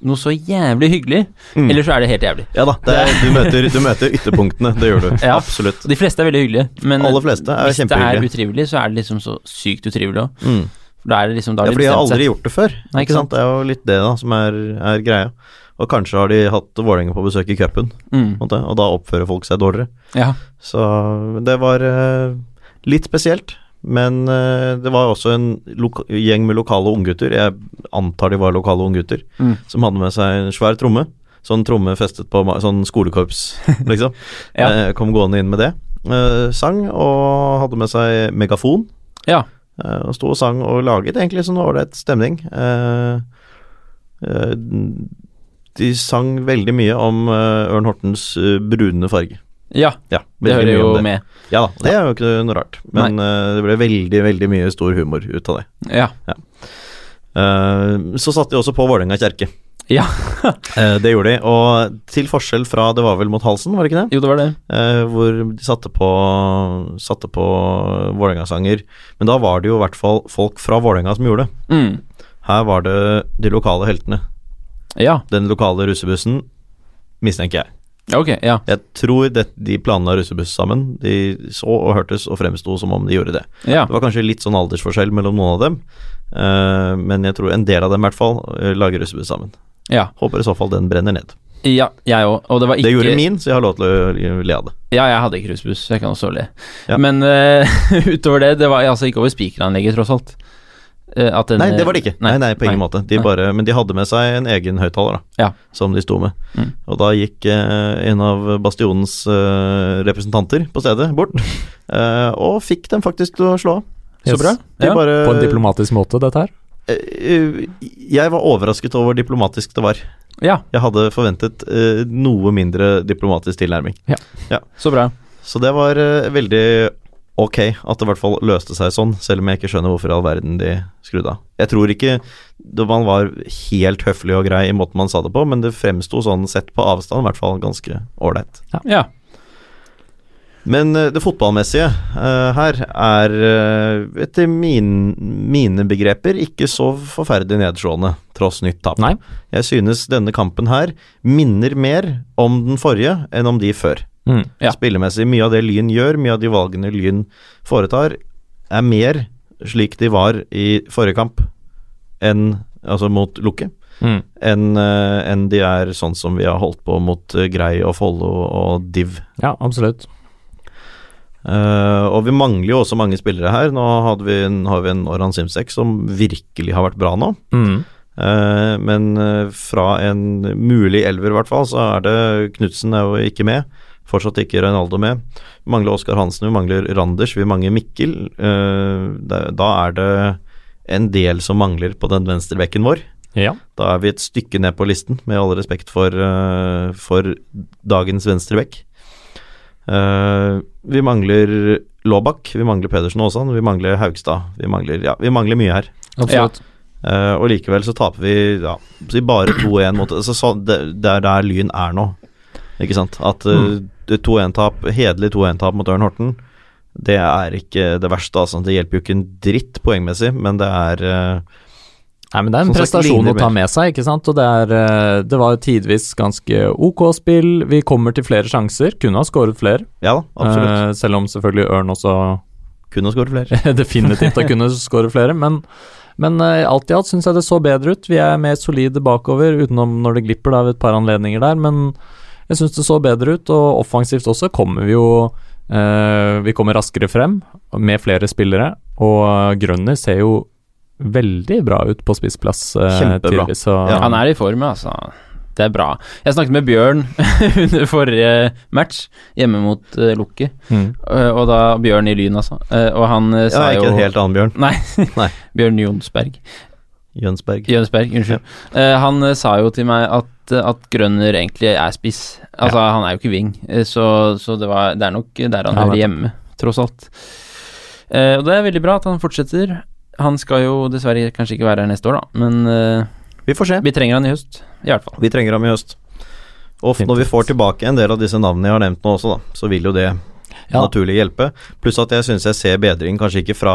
noe så jævlig hyggelig, Mm. eller så er det helt jævlig. Ja da, det er, du, møter, du møter ytterpunktene, det gjør du. Ja. Absolutt. Og de fleste er veldig hyggelige, men Aller fleste er hvis det er kjempehyggelige. utrivelig, så er det liksom så sykt utrivelig òg. Mm. Da er det liksom da Ja, har de for de har bestemt aldri seg. gjort det før. Nei, ikke ikke sant? Det er jo litt det da som er, er greia. Og kanskje har de hatt Vålerenga på besøk i cupen, på en Mm. måte, og da oppfører folk seg dårligere. Ja. Så det var eh, litt spesielt. Men eh, det var også en loka gjeng med lokale unggutter, jeg antar de var lokale unggutter, Mm. som hadde med seg en svær tromme. Sånn tromme festet på ma- sånn skolekorps, liksom. Ja. Eh, kom gående inn med det. Eh, sang og hadde med seg megafon. ja. Eh, Og sto og sang og laget egentlig sånn ålreit stemning. Eh, eh, De sang veldig mye om eh, Ørn Hortens eh, brune farge. Ja, Ja, det veldig hører mye jo om det. med. Ja da, det er jo ikke noe rart. Men eh, det ble veldig, veldig mye stor humor ut av det. Ja. Eh, Så satte de også på Vålerenga kirke. Ja. Eh, Det gjorde de. Og til forskjell fra Det var vel mot halsen, var det ikke det? Jo, det var det. Eh, hvor de satte på, satte på Vålerenga-sanger. Men da var det jo i hvert fall folk fra Vålerenga som gjorde det. Mm. Her var det de lokale heltene. Ja. Den lokale russebussen, mistenker jeg. Ja, ok, ja. Jeg tror det, de planla russebuss sammen. De så og hørtes og fremsto som om de gjorde det. ja. Det var kanskje litt sånn aldersforskjell mellom noen av dem, eh, men jeg tror en del av dem i hvert fall eh, lager russebuss sammen. Ja, Håper i så fall den brenner ned. ja jeg òg. Og det var ikke Det gjorde min, så jeg har lov til å eh, le av det. Ja, jeg hadde ikke rusbuss, så jeg kan også le. Ja. Men eh, utover det, det var altså ikke over spikeranlegget, tross alt. Eh, at den- Nei, det var det ikke. Nei, nei, på ingen måte. De Nei. bare, men de hadde med seg en egen høyttaler, da, Ja. som de sto med. Mm. Og da gikk eh, en av Bastionens eh, representanter på stedet bort, eh, og fikk dem faktisk til å slå av. Yes. De Ja, bare, På en diplomatisk måte, dette her. Eh, Jeg var overrasket over hvor diplomatisk det var. Ja, Jeg hadde forventet eh, noe mindre diplomatisk tilnærming. så bra. Så det var eh, veldig ok at det i hvert fall løste seg sånn, selv om jeg ikke skjønner hvorfor i all verden de skrudde av. Jeg tror ikke det- man var helt høflig og grei i måten man sa det på, men det fremsto sånn sett på avstand i hvert fall ganske ålreit. Ja. Men eh, det fotballmessige eh, her er eh, etter min, mine begreper ikke så forferdelig nedslående, tross nytt tap. Nei. Jeg synes denne kampen her minner mer om den forrige enn om de før. Mm. Ja. Spillemessig, mye av det Lyn gjør, mye av de valgene Lyn foretar, er mer slik de var i forrige kamp, enn, altså mot Lukke, Mm. enn eh, enn de er sånn som vi har holdt på mot eh, Grei og Follo og Div. ja, absolutt. Eh, og vi mangler jo også mange spillere her. Nå hadde vi en, har vi en Oran Simsek som virkelig har vært bra nå. Mm. Eh, men eh, fra en mulig elver, i hvert fall, så er det Knutsen er jo ikke med. Fortsatt ikke Reinaldo med. Vi mangler Oskar Hansen, vi mangler Randers, vi mangler Mikkel. Eh, da- da er det en del som mangler på den venstrebekken vår. Ja. Da er vi et stykke ned på listen, med all respekt for, eh, for dagens venstrebekk. Eh, vi mangler Laabak, vi mangler Pedersen og Aasan, vi mangler Haugstad. Vi mangler, ja, vi mangler mye her. Absolutt. Eh, og likevel så taper vi ja, si bare 2-1 mot altså, så, det, det er der Lyn er nå, ikke sant? At eh, det 2-1-tap, hederlig 2-1-tap mot Ørn Horten, det er ikke det verste, altså. Det hjelper jo ikke en dritt poengmessig, men det er eh, Nei, men det er en Som sagt, prestasjon ligner å ta mer. med seg, ikke sant. Og det, er, eh, det var tidvis ganske ok spill. Vi kommer til flere sjanser. Kunne ha skåret flere, Ja da, absolutt. eh, selv om selvfølgelig Ørn også Kunne ha skåret flere. definitivt har kunnet skåre flere, men, men eh, alt i alt syns jeg det så bedre ut. Vi er mer solide bakover, utenom når det glipper da, ved et par anledninger der, men jeg syns det så bedre ut, og offensivt også kommer vi jo eh, Vi kommer raskere frem med flere spillere, og Grønner ser jo veldig bra ut på spissplass. eh, Kjempebra. tidvis, og- Ja. Han er i form, altså. Det er bra. Jeg snakket med Bjørn under forrige match, hjemme mot eh, Lukke. Mm. Eh, og da Bjørn i Lyn, altså. Eh, og han eh, Ja, sa ikke en jo helt annen Bjørn. Nei, Nei. Bjørn Jonsberg. Jønsberg. Jønsberg, unnskyld. Eh, han eh, sa jo til meg at, eh, at Grønner egentlig er spiss. Altså, han er jo ikke wing, eh, så, så det, var, det er nok der han Ja, hører nettopp. hjemme, tross alt. Eh, og det er veldig bra at han fortsetter. Han skal jo dessverre kanskje ikke være her neste år, da, men eh, Vi får se. vi trenger han i høst, i hvert fall. Vi trenger ham i høst. Og f- når vi får tilbake en del av disse navnene jeg har nevnt nå også, da, så vil jo det Ja. naturlig hjelpe. Pluss at jeg syns jeg ser bedring, kanskje ikke fra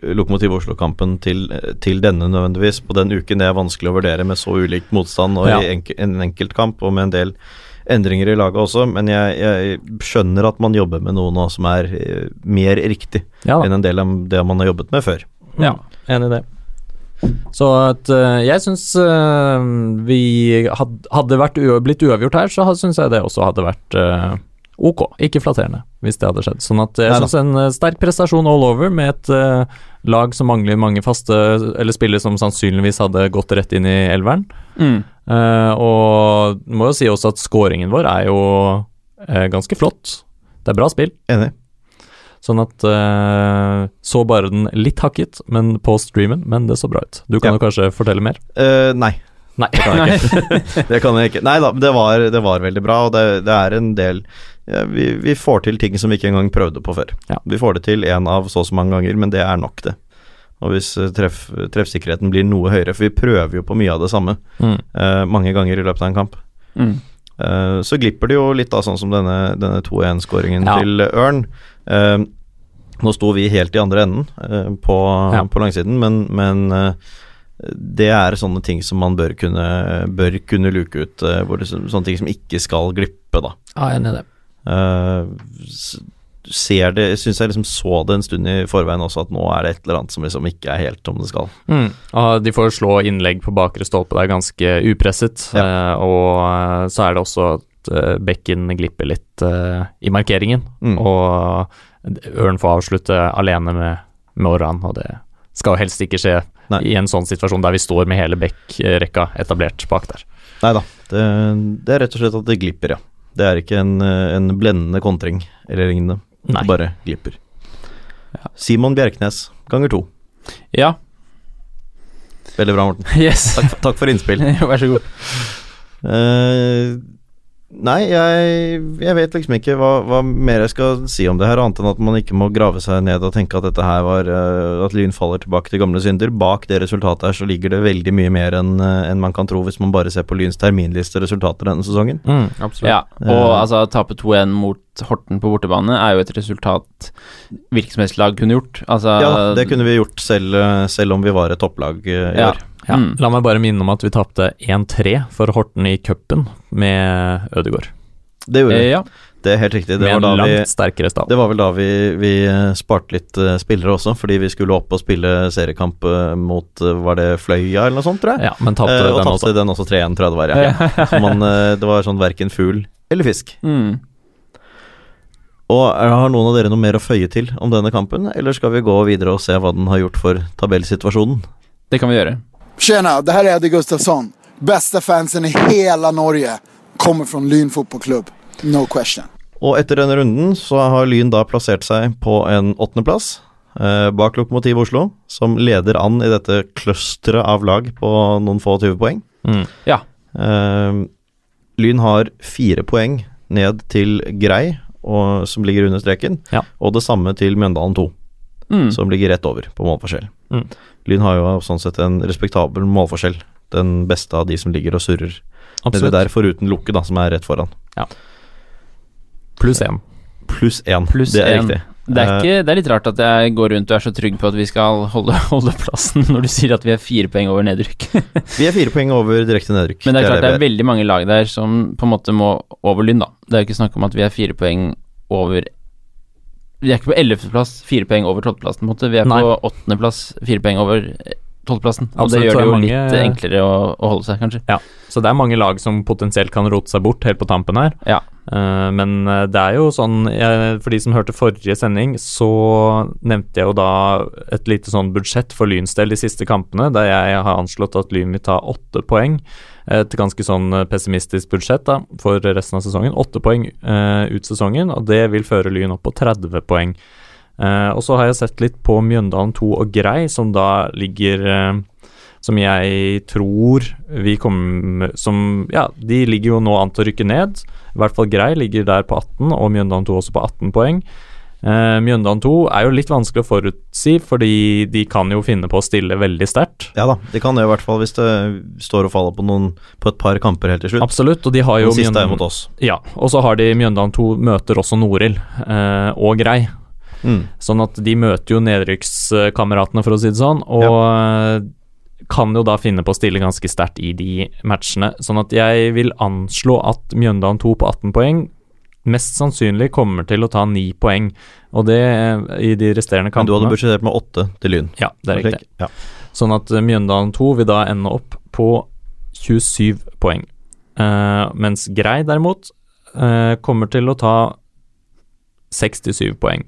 eh, Lokomotiv Oslo-kampen til, eh, til denne nødvendigvis, på den uken det er vanskelig å vurdere med så ulik motstand og Ja. i enk en enkeltkamp, og med en del endringer i laget også, men jeg, jeg skjønner at man jobber med noe nå som er eh, mer riktig Ja, da. enn en del av det man har jobbet med før. Ja, enig i det. Så at eh, jeg syns eh, vi had, Hadde vært ua- blitt uavgjort her, så syns jeg det også hadde vært eh, ok. Ikke flatterende, hvis det hadde skjedd. Sånn at jeg Neida. syns en eh, sterk prestasjon all over med et eh, lag som mangler mange faste Eller spillere som sannsynligvis hadde gått rett inn i elveren. Mm. Eh, og må jo si også at scoringen vår er jo eh, ganske flott. Det er bra spill. Enig. Sånn at eh, Så bare den litt hakket men på streamen, men det så bra ut. Du kan Ja. jo kanskje fortelle mer? Eh, nei. Nei. Det kan jeg ikke. det kan jeg ikke. Nei da, men det var, det var veldig bra, og det, det er en del ja, vi, vi får til ting som vi ikke engang prøvde på før. Ja. Vi får det til én av så og så mange ganger, men det er nok, det. Og hvis eh, treff, treffsikkerheten blir noe høyere, for vi prøver jo på mye av det samme Mm. eh, mange ganger i løpet av en kamp, Mm. Eh, så glipper det jo litt av sånn som denne, denne 2-1-skåringen Ja. til Ørn. Eh, nå sto vi helt i andre enden eh, på, Ja. på langsiden, men, men eh, det er sånne ting som man bør kunne, bør kunne luke ut. eh, Hvor det, sånne ting som ikke skal glippe, da. Ja, jeg er enig i det. Eh, s- ser det Jeg syns jeg liksom så det en stund i forveien også, at nå er det et eller annet som liksom ikke er helt som det skal. Mm. Og de får slå innlegg på bakre stolpe der ganske upresset, eh, og eh, så er det også at eh, bekken glipper litt eh, i markeringen, Mm. og Ørn får avslutte alene med, med Oran, og det skal jo helst ikke skje Nei. i en sånn situasjon der vi står med hele bekkrekka etablert bak der. Nei da. Det, det er rett og slett at det glipper, ja. Det er ikke en, eh, en blendende kontring eller lignende. Nei. Det bare glipper. Simon Bjerknes ganger to. Ja. Veldig bra, Morten. Yes. Takk, takk for innspill. Vær så god. Eh, nei, jeg, jeg vet liksom ikke hva, hva mer jeg skal si om det her, annet enn at man ikke må grave seg ned og tenke at dette her var eh, At Lyn faller tilbake til gamle synder. Bak det resultatet her så ligger det veldig mye mer enn eh, enn man kan tro hvis man bare ser på Lyns terminliste resultater denne sesongen. absolutt. Ja, og Eh. altså tape 2-1 mot Horten på bortebane er jo et resultat hvilket som helst lag kunne gjort. Altså, Ja, det kunne vi gjort selv, eh, selv om vi var et topplag eh, i Ja. år. Ja. Mm. La meg bare minne om at vi tapte 1-3 for Horten i cupen med Ødegaard. Det gjorde Eh, vi. ja. Det er helt riktig. Det var Med en da langt vi sterkere stall. Det var vel da vi, vi eh, sparte litt eh, spillere også, fordi vi skulle opp og spille seriekamp eh, mot eh, Var det Fløya eller noe sånt, tror jeg? Ja, men tapte Eh, og den også. tapte den også 3-1, tror jeg det var. Ja. Så man, eh, det var sånn verken fugl eller fisk. Mm. Og er- Har noen av dere noe mer å føye til om denne kampen, eller skal vi gå videre og se hva den har gjort for tabellsituasjonen? Det kan vi gjøre. Tjena, det här är Eddie Gustafsson. Bästa fansen i hela Norge. Kommer från Lyn fotbollsklubb. No question. Og etter denne runden så har Lyn da plassert seg på en åttendeplass. Eh, bak Lokomotiv Oslo, som leder an i dette clusteret av lag på noen få 20 poeng. Mm. Ja. Eh, Lyn har fire poeng ned til Grei, og, som ligger under streken, Ja. og det samme til Mjøndalen 2, Mm. som ligger rett over på målforskjell. Mm. Lyn har jo sånn sett en respektabel målforskjell. Den beste av de som ligger og surrer nedi Absolutt. der, foruten Lokke, da, som er rett foran. Pluss én. Pluss én. Pluss det er én. riktig. Det, er ikke, det er litt rart at jeg går rundt og er så trygg på at vi skal holde, holde plassen når du sier at vi er fire poeng over nedrykk. Vi er fire poeng over direkte nedrykk. Men det er klart det vi er veldig mange lag der som på en måte må over Lyn, da. Det er jo ikke snakk om at vi er fire poeng over Vi er ikke på ellevteplass, fire poeng over tolvteplassen, på en måte. Vi er Nei. på åttendeplass, fire poeng over eh, tolvteplassen. Og Absolutt, det så gjør er det jo mange- litt enklere å, å holde seg, kanskje. Så det er mange lag som potensielt kan rote seg bort helt på tampen her. Ja. Eh, men eh, det er jo sånn eh, For de som hørte forrige sending, så nevnte jeg jo da et lite sånn budsjett for Lyns del de siste kampene, der jeg har anslått at Lyn vil ta åtte poeng. Et ganske sånn eh, pessimistisk budsjett da, for resten av sesongen. Åtte poeng eh, ut sesongen, og det vil føre Lyn opp på 30 poeng. Eh, og så har jeg sett litt på Mjøndalen 2 og Grei, som da ligger eh, som jeg tror vi kommer Som Ja, de ligger jo nå an til å rykke ned. I hvert fall Grei ligger der på 18, og Mjøndalen 2 også på 18 poeng. Eh, Mjøndalen 2 er jo litt vanskelig å forutsi, fordi de kan jo finne på å stille veldig sterkt. Ja da, det kan det i hvert fall hvis det står og faller på, noen, på et par kamper helt til slutt. Absolutt, og de har jo Den siste er jo Mjøndalen- mot oss. Ja, og så har de Mjøndalen 2 møter også Norild eh, og Grei. Mm. Sånn at de møter jo nedrykkskameratene, for å si det sånn, og eh, kan jo da finne på å stille ganske sterkt i de matchene. Sånn at jeg vil anslå at Mjøndalen 2 på 18 poeng mest sannsynlig kommer til å ta 9 poeng, og det eh, i de resterende Men du hadde kampene. budsjettert med åtte til Lyn. Ja, det er riktig. Ja. Sånn at eh, Mjøndalen 2 vil da ende opp på 27 poeng. Eh, mens Grei derimot eh, kommer til å ta 67 poeng.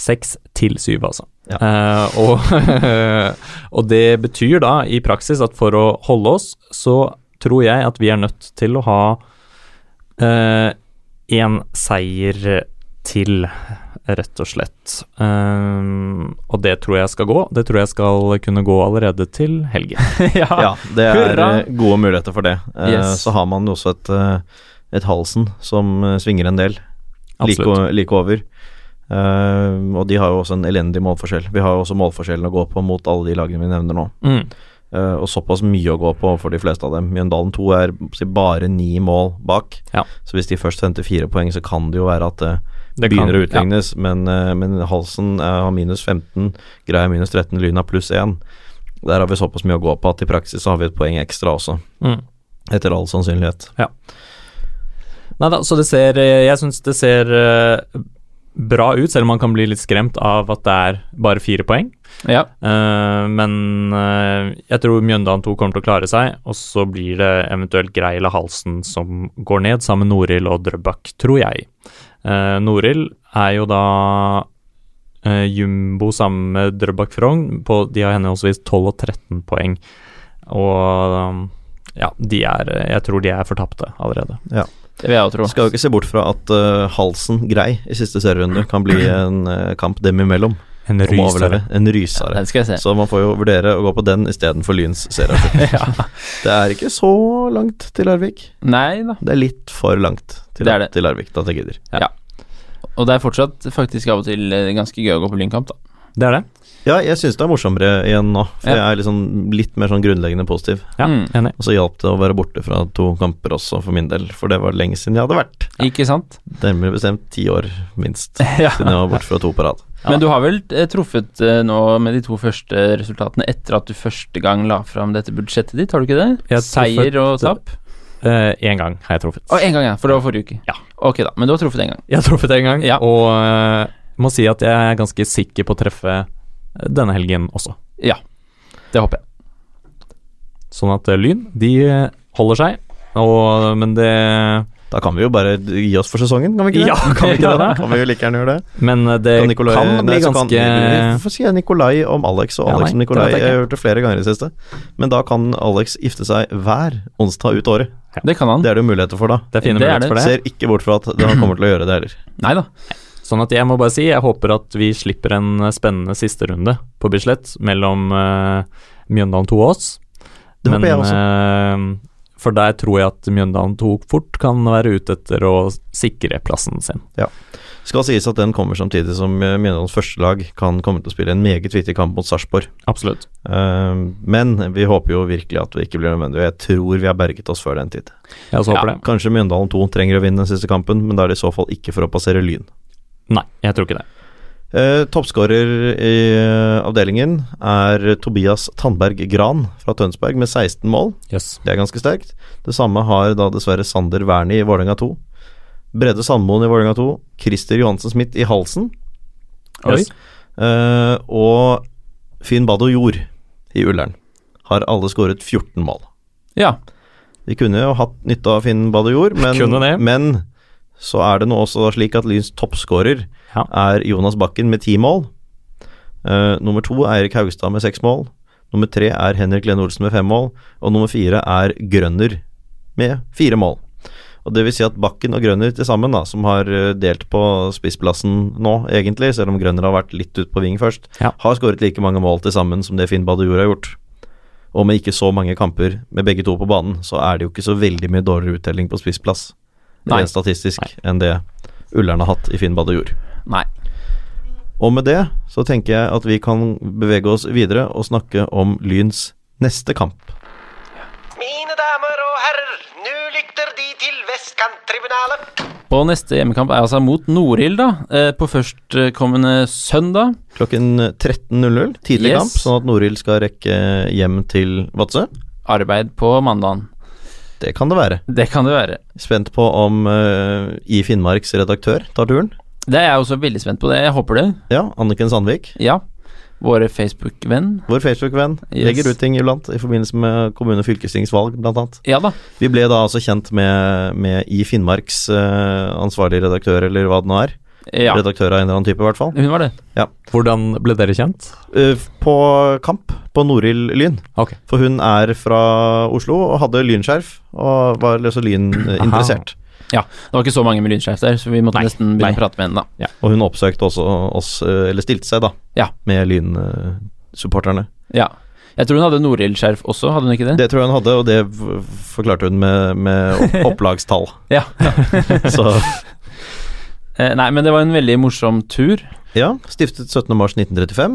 6 til 7, altså. Ja. Eh, og, og det betyr da i praksis at for å holde oss, så tror jeg at vi er nødt til å ha én seier til, rett og slett. Ehm, og det tror jeg skal gå. Det tror jeg skal kunne gå allerede til helgen. ja, det er Hurra! eh, gode muligheter for det. Eh, Yes. Så har man jo også et, eh, et Halsen som eh, svinger en del, like, Absolutt. o- like over. Eh, og de har jo også en elendig målforskjell. Vi har jo også målforskjellen å gå på mot alle de lagene vi nevner nå. Mm. Eh, og såpass mye å gå på for de fleste av dem. Mjøndalen 2 er si, bare ni mål bak. Ja. Så hvis de først henter fire poeng, så kan det jo være at eh, det, Det kan- begynner å utlignes. Men, eh, men Halsen eh, har minus 15, Greia minus 13, Lyn har pluss 1. Der har vi såpass mye å gå på at i praksis så har vi et poeng ekstra også, Mm. etter all sannsynlighet. Nei da, så det ser Jeg syns det ser eh, bra ut, selv om man kan bli litt skremt av at det er bare fire poeng. Ja. Eh, men eh, jeg tror Mjøndalen 2 kommer til å klare seg, og så blir det eventuelt Greil og Halsen som går ned, sammen med Noril og Drøbak, tror jeg. Uh, Noril er jo da eh, jumbo sammen med Drøbak Frogn. På, de har henholdsvis 12 og 13 poeng. Og um, ja, de er Jeg tror de er fortapte allerede. Det vil jeg òg tro. Skal jo ikke se bort fra at eh, Halsen grei i siste serierunde kan bli en eh, kamp dem imellom. En om å overleve. rysere. En rysere. Den skal jeg se. Så man får jo vurdere å gå på den istedenfor Lyns serieavslutning. Det er ikke så langt til Larvik. Nei da. Det er litt for langt til, Det er det. til Larvik, da jeg gidder. Og det er fortsatt faktisk av og til eh, ganske gøy å gå på Lynkamp, da. Det er det. Ja, jeg syns det er morsommere igjen nå, for Ja. jeg er liksom litt mer sånn grunnleggende positiv. Ja, Mm. enig. Og så hjalp det å være borte fra to kamper også, for min del, for det var lenge siden jeg hadde vært. Ikke sant? Nærmere bestemt ti år, minst, Ja. siden jeg var borte fra to på rad. Men du har vel eh, truffet eh, nå med de to første resultatene etter at du første gang la fram dette budsjettet ditt, har du ikke det? Jeg har Seier og tap? Én Eh, gang har jeg truffet. Å, én gang, ja. For det var forrige uke. Ja. Ok, da. Men du har truffet én gang. Jeg har truffet en gang, Ja. og eh, må si at jeg er ganske sikker på å treffe denne helgen også. Det håper jeg. Sånn at eh, Lyn, de eh, holder seg, og, men det Da kan vi jo bare gi oss for sesongen, kan vi ikke det? Ja, kan vi ikke det? Da kan vi jo like gjerne gjøre det. Men eh, det Kan kan, Nikolai, bli nei, så kan- ganske Hvorfor sier jeg Nikolai om Alex og Ja, Alex nei, om Nikolai? det vet jeg Jeg har hørt det flere ganger i det siste. Men da kan Alex gifte seg hver onsdag ut året. Det kan han. Det er det jo muligheter for da. Det er fine Det er muligheter for det. Ser ikke bort fra at han kommer til å gjøre det heller. Nei da. Sånn at jeg må bare si, jeg håper at vi slipper en eh, spennende siste runde på Bislett mellom eh, Mjøndalen 2 og oss. Det håper jeg også. eh, for der tror jeg at Mjøndalen 2 fort kan være ute etter å sikre plassen sin. Skal sies at den kommer samtidig som eh, Mjøndalens første lag kan komme til å spille en meget viktig kamp mot Sarpsborg. Absolutt. Eh, Men vi håper jo virkelig at det ikke blir nødvendig, og jeg tror vi har berget oss før den tid. Jeg også håper det. Kanskje Mjøndalen 2 trenger å vinne den siste kampen, men da er det i så fall ikke for å passere Lyn. Nei, jeg tror ikke det. Eh, Toppskårer i eh, avdelingen er Tobias Tandberg Gran fra Tønsberg med 16 mål. Jøss. Det er ganske sterkt. Det samme har da dessverre Sander Wernie i Vålerenga 2. Brede Sandmoen i Vålerenga 2. Christer Johansen Smith i Halsen. Oi. Yes. eh, og Finn Bado Jord i Ullern har alle skåret 14 mål. Ja. Vi kunne jo hatt nytte av Finn Bado Jord, men, Kunne det. men så er det nå også slik at Lyns toppskårer Ja. er Jonas Bakken med ti mål. Eh, nummer to er Eirik Haugstad med seks mål. Nummer tre er Henrik Lene Olsen med fem mål. Og nummer fire er Grønner med fire mål. Og Det vil si at Bakken og Grønner til sammen, da, som har eh, delt på spissplassen nå, egentlig, selv om Grønner har vært litt ut på ving først, Ja. har skåret like mange mål til sammen som det Finn Badejord har gjort. Og med ikke så mange kamper med begge to på banen, så er det jo ikke så veldig mye dårligere uttelling på spissplass, Nei. rent statistisk, enn det Ullern har hatt i Finn Badejord. Nei. Og med det så tenker jeg at vi kan bevege oss videre og snakke om Lyns neste kamp. Mine damer og herrer, nå lytter De til Vestkanttribunalet. Og neste hjemmekamp er altså mot Norild, da. eh, På førstkommende søndag. Klokken 13.00, tidlig Yes. kamp, sånn at Norild skal rekke hjem til Vadsø. Arbeid på mandagen. Det kan det være. Det kan det være. Spent på om eh, I Finnmarks redaktør tar turen. Det er jeg også veldig spent på. det Jeg håper det. Ja, Anniken Sandvik, Ja. Våre Facebook-venn. vår Facebook-venn, Yes. legger ut ting iblant i forbindelse med kommune- og fylkestingsvalg, blant annet. Ja da. Vi ble da altså kjent med, med I Finnmarks eh, ansvarlig redaktør, eller hva det nå er. Ja. Redaktør av en eller annen type, i hvert fall. Hun var det. Hvordan ble dere kjent? Eh, på kamp på Norild Lyn. Ok. For hun er fra Oslo og hadde lynskjerf, og var altså lyninteressert. Det var ikke så mange med lynskjerf der, så vi måtte Nei, nesten begynne nei. å prate med henne, da. Og hun oppsøkte også oss, eh, eller stilte seg, da, Ja. med lynsupporterne. Ja. Jeg tror hun hadde Norild-skjerf også, hadde hun ikke det? Det tror jeg hun hadde, og det v- forklarte hun med, med opp- opplagstall. Ja. Så Eh, nei, men det var en veldig morsom tur. ja, stiftet 17. mars 1935.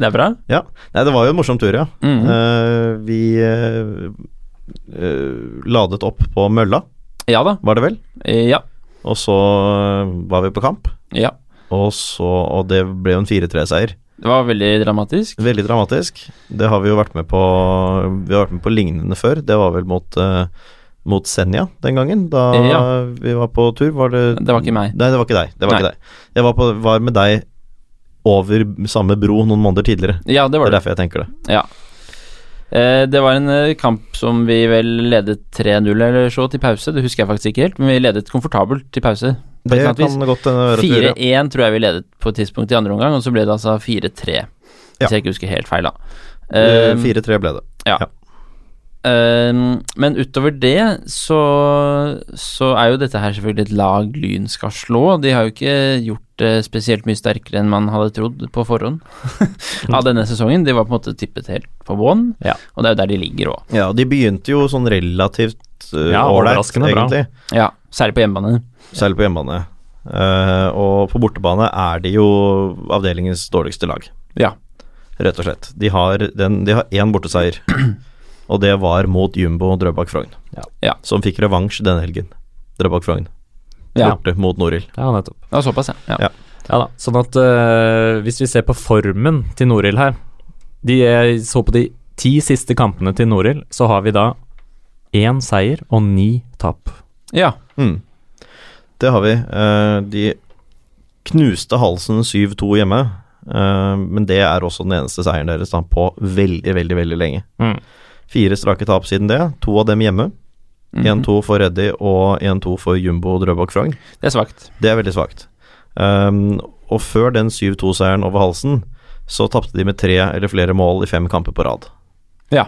Det er bra. Ja. Nei, det var jo en morsom tur, ja. Mhm. Eh, vi eh, eh, ladet opp på Mølla, Ja da. var det vel? Eh, ja. Og så eh, var vi på kamp. Ja. Og, så, og det ble jo en 4-3-seier. Det var veldig dramatisk. Veldig dramatisk. Det har vi jo vært med på Vi har vært med på lignende før. Det var vel mot, eh, mot Senja den gangen, da Ja. vi var på tur. Var det Det var ikke meg. Nei, det var ikke deg. Det var Nei. ikke deg. Jeg var, på, var med deg over samme bro noen måneder tidligere. Ja, det Det var er det. derfor jeg tenker det. Ja. Eh, Det var en eh, kamp som vi vel ledet 3-0 eller så til pause, det husker jeg faktisk ikke helt, men vi ledet komfortabelt til pause. på et Det eller kan annet vis. godt hende være at vi gjør, ja. 4-1 tror jeg vi ledet på et tidspunkt i andre omgang, og så ble det altså 4-3. Ja. Hvis jeg ikke husker helt feil, da. Eh, Ehm, 4-3 ble det. ehm, men utover det så, så er jo dette her selvfølgelig et lag Lyn skal slå. De har jo ikke gjort det spesielt mye sterkere enn man hadde trodd på forhånd av denne sesongen. De var på en måte tippet helt på bånn, Ja. og det er jo der de ligger òg. Ja, de begynte jo sånn relativt eh, Ja, ålreit, overraskende bra. egentlig. Ja, særlig på hjemmebane. Selv på hjemmebane. Eh, og på bortebane er de jo avdelingens dårligste lag. Ja. Rett og slett. De har, den, de har én borteseier, og det var mot Jumbo Drøbak Frogn. Ja. Ja. Som fikk revansj denne helgen. Drøbak Frogn. Ja. Borte mot Norild. Ja, nettopp. Det var såpass, ja. Ja. ja. Ja da, sånn at eh, hvis vi ser på formen til Norild her de, Jeg så på de ti siste kampene til Norild, så har vi da én seier og ni tap. ja. Mm. Det har vi. Eh, de knuste halsen 7-2 hjemme, eh, men det er også den eneste seieren deres da, på veldig, veldig veldig lenge. Mm. Fire strake tap siden det, to av dem hjemme. 1-2 for Reddy og 1-2 for Jumbo Drøbak Frogn. Det er svakt. Det er veldig svakt. Ehm, og før den 7-2-seieren over halsen, så tapte de med tre eller flere mål i fem kamper på rad. Ja.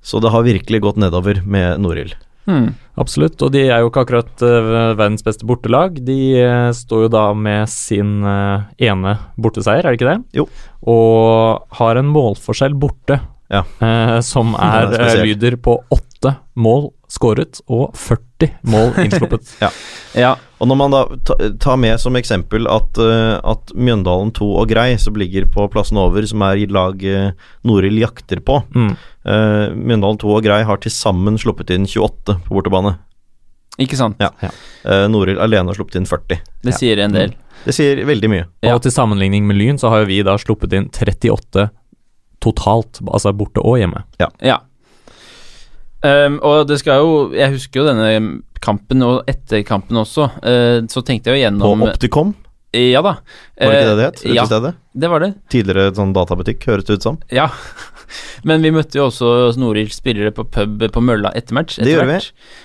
Så det har virkelig gått nedover med Norild. Mm. Absolutt, og de er jo ikke akkurat eh, verdens beste bortelag. De eh, står jo da med sin eh, ene borteseier, er det ikke det? Jo. Og har en målforskjell borte Ja. eh, som er, Den er eh, spesiell. lyder på åtte mål skåret og 40 mål innsluppet. Ja. Og når man da ta- tar med som eksempel at, eh, at Mjøndalen 2 og Grei, som ligger på plassen over, som er i lag eh, Norild jakter på mm. eh, Mjøndalen 2 og Grei har til sammen sluppet inn 28 på bortebane. Ikke sant. Ja. Eh, Norild alene har sluppet inn 40. Det sier en del. Det sier veldig mye. Ja. Og til sammenligning med Lyn, så har jo vi da sluppet inn 38 totalt, altså borte og hjemme. Ja. Ehm, og det skal jo Jeg husker jo denne kampen, og etter kampen også. eh, så tenkte jeg jo På gjennom Opticom, Ja da. var det ikke det det het? eh, ja, utestedet? det var det. Tidligere sånn databutikk, høres det ut som. Ja. Men vi møtte jo også Snorils spillere på pub på Mølla etter match. Det gjorde vi.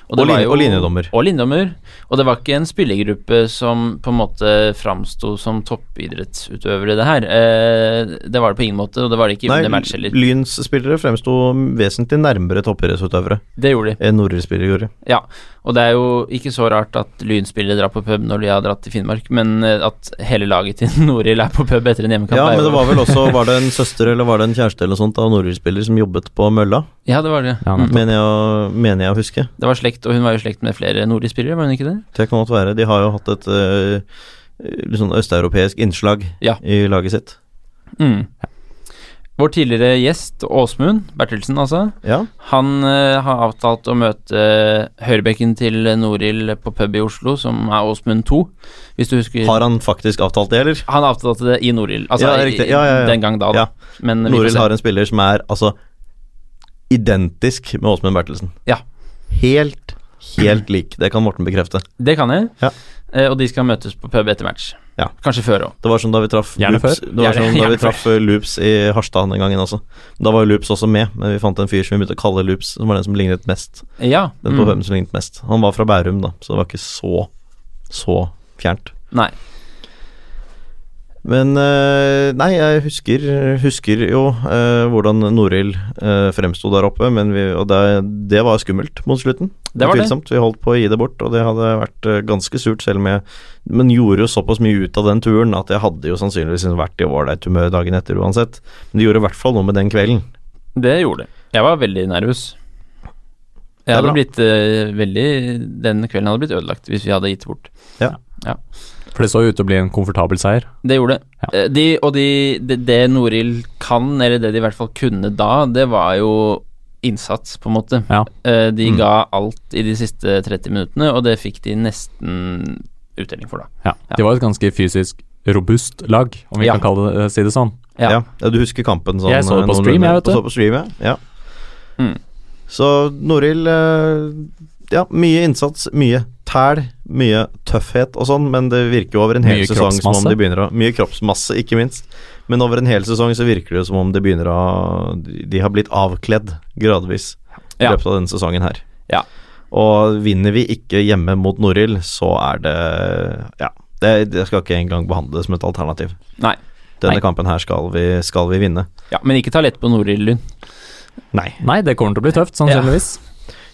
Og, det Og var lin- jo- og linjedommer. Og linjedommer. Og det var ikke en spillergruppe som på en måte framsto som toppidrettsutøvere, det her. Eh, det var det på ingen måte, og det var det ikke Nei, under match heller. Lyns spillere fremsto vesentlig nærmere toppidrettsutøvere Det gjorde de. enn Norers spillere gjorde. Ja, og det er jo ikke så rart at Lynspillere drar på pub når de har dratt til Finnmark, men eh, at hele laget til Norild er på pub etter en hjemmekamp Ja, er men jo- det var vel også Var det en søster eller var det en kjæreste eller sånt av Norers-spiller som jobbet på mølla, Ja, det var det. Ja, mm. mener jeg, mener jeg å huske. Det var slekt, og hun var jo slekt med flere Norild-spillere, var hun ikke det? Det kan godt være. De har jo hatt et eh, litt sånn østeuropeisk innslag Ja. i laget sitt. Mm. Vår tidligere gjest, Åsmund Bertelsen, altså, Ja, han eh, har avtalt å møte eh, høyrebekken til Norild på pub i Oslo, som er Åsmund 2, hvis du husker Har han faktisk avtalt det, eller? Han avtalte det i Norild, altså Ja, i- riktig. Ja, ja, ja. den gang da, da. Ja. Men vi får Noril se. har en spiller som er altså identisk med Åsmund Bertelsen. Ja. Helt, helt lik. Det kan Morten bekrefte. Det kan jeg. Ja. Eh, og de skal møtes på pub etter match. Ja. Kanskje før òg. Det var som da vi traff Gjerne Loops, før. det var Gjerne- som da vi gjerne før. traff eh, Loops i Harstad den gangen også. Da var jo Loops også med, men vi fant en fyr som vi begynte å kalle Loops, som var den som lignet mest. Ja. Mm. Den på hvem som lignet mest. Han var fra Bærum, da, så det var ikke så, så fjernt. Nei. Men eh, nei, jeg husker, husker jo eh, hvordan Norild uh, fremsto der oppe, men vi, og det, det var skummelt mot slutten. Det var det. Utvilsomt. Vi holdt på å gi det bort, og det hadde vært eh, ganske surt, selv om jeg Men gjorde jo såpass mye ut av den turen at jeg hadde jo sannsynligvis vært i ålreit humør dagen etter uansett. Men det gjorde i hvert fall noe med den kvelden. Det gjorde det. Jeg var veldig nervøs. Det er Jeg hadde bra. blitt eh, veldig Den kvelden hadde blitt ødelagt hvis vi hadde gitt bort. For det så jo ut til å bli en komfortabel seier. Det gjorde det. Ja. Eh, De, og de, det, det Norild kan, eller det de i hvert fall kunne da, det var jo innsats, på en måte. Ja. Eh, De ga alt i de siste 30 minuttene, og det fikk de nesten utdeling for, da. Ja. De var et ganske fysisk robust lag, om vi Ja. kan kalle det, si det sånn. Ja. Ja. ja, du husker kampen sånn Jeg så det på eh, stream, noenlunde. jeg, vet du. Så på stream, ja. ja. Mm. Så Noril eh, Ja, mye innsats, mye tæl, mye tøffhet og sånn, men det virker jo over en hel Mye sesong som om kroppsmasse. de begynner å Mye kroppsmasse, ikke minst. Men over en hel sesong så virker det jo som om de begynner å De de har blitt avkledd gradvis i Ja. løpet av denne sesongen her. Ja. Og vinner vi ikke hjemme mot Noril, så er det Ja. Det, det skal ikke engang behandles som et alternativ. Nei. Denne Nei. kampen her skal vi, skal vi vinne. Ja, men ikke ta lett på Norild Lund. Nei. Nei, det kommer til å bli tøft, sannsynligvis.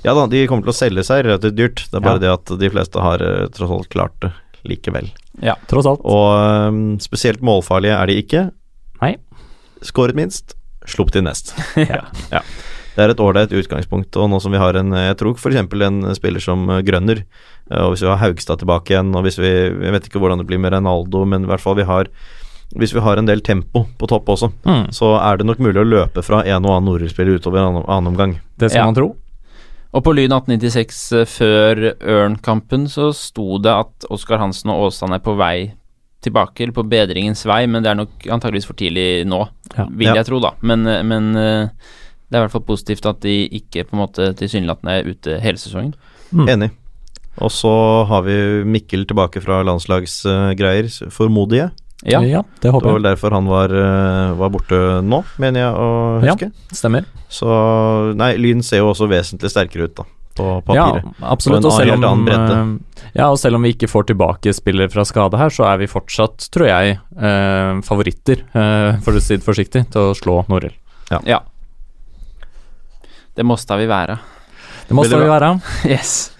Ja da, de kommer til å selge seg relativt dyrt. Det er bare Ja. det at de fleste har eh, tross alt klart det likevel. Tross alt. Og eh, spesielt målfarlige er de ikke. Nei. Skåret minst, sluppet inn mest. Ja. ja. Det er et ålreit utgangspunkt, og nå som vi har en eh, Jeg tror f.eks. en spiller som eh, Grønner, eh, og hvis vi har Haugstad tilbake igjen, og hvis vi Jeg vet ikke hvordan det blir med Renaldo, men i hvert fall vi har hvis vi har en del tempo på topp også, Mm. så er det nok mulig å løpe fra en og annen Noril-spiller utover annen, annen omgang. Det skal Ja. man tro. Og på Lyn 1896 eh, før Ørn-kampen så sto det at Oskar Hansen og Åsan er på vei tilbake, eller på bedringens vei, men det er nok antageligvis for tidlig nå, Ja. vil Ja. jeg tro, da. Men, eh, men eh, det er i hvert fall positivt at de ikke på en måte tilsynelatende er ute hele sesongen. Mm. Enig. Og så har vi Mikkel tilbake fra landslagsgreier, formoder jeg. Ja. det Det var håper jeg. vel derfor han var, eh, var borte nå, mener jeg å huske. Stemmer. Så nei, Lyn ser jo også vesentlig sterkere ut, da, på papiret. Ja, absolutt. På en Og selv, helt om, annen eh, ja, og selv om vi ikke får tilbake spillere fra skade her, så er vi fortsatt, tror jeg, eh, favoritter, eh, for å si det forsiktig, til å slå Noril. ja. Det måste vi være. Det må Veldig vi være. Yes.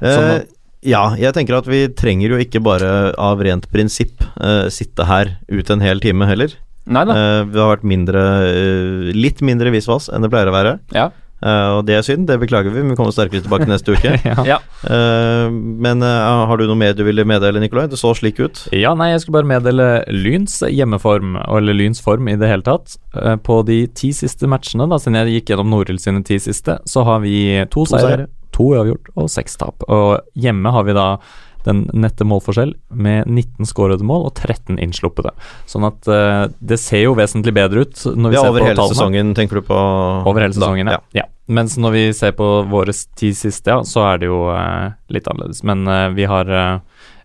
sånn Eh, ja, jeg tenker at vi trenger jo ikke bare av rent prinsipp eh, sitte her ut en hel time heller. Nei da. Eh, vi har vært mindre, eh, litt mindre visvas enn det pleier å være. Ja. Eh, og det er synd, det beklager vi, men vi kommer sterkere tilbake neste uke. Ja. Ja. Eh, men eh, har du noe mer du ville meddele, Nikolai? Det så slik ut. Ja, nei, jeg skulle bare meddele Lyns hjemmeform, eller Lyns form i det hele tatt. Eh, På de ti siste matchene, da, siden jeg gikk gjennom Noril sine ti siste, så har vi to, seire, seire. to uavgjort og seks tap. Og hjemme har vi da den nette målforskjell med 19 skårede mål og 13 innsluppede. Sånn at eh, det ser jo vesentlig bedre ut når vi Ja, ser over på hele tallene. sesongen, tenker du på? Over hele sesongen, Da, ja. ja. Mens når vi ser på våre ti siste, ja, så er det jo eh, litt annerledes. Men eh, vi, har, eh,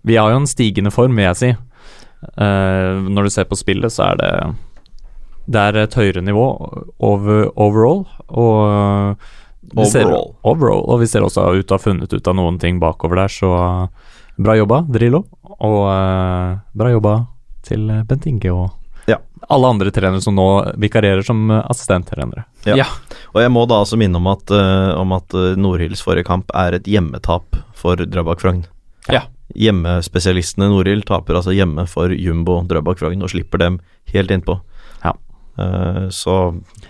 vi har jo en stigende form, vil jeg si. Eh, når du ser på spillet, så er det Det er et høyere nivå over, overall. Og eh, vi ser, Overall. overall. Og vi ser også ut å ha funnet ut av noen ting bakover der, så eh, bra jobba, Drillo. Og eh, bra jobba til eh, Bent Inge og Ja. alle andre trenere som nå vikarierer som eh, assistenttrenere. Ja. Ja. Og jeg må da altså minne om at, uh, om at eh, Nordhills forrige kamp er et hjemmetap for Drøbak Frogn. Ja. Hjemmespesialistene Nordhild taper altså hjemme for Jumbo Drøbak Frogn og slipper dem helt innpå. Ja. Eh, så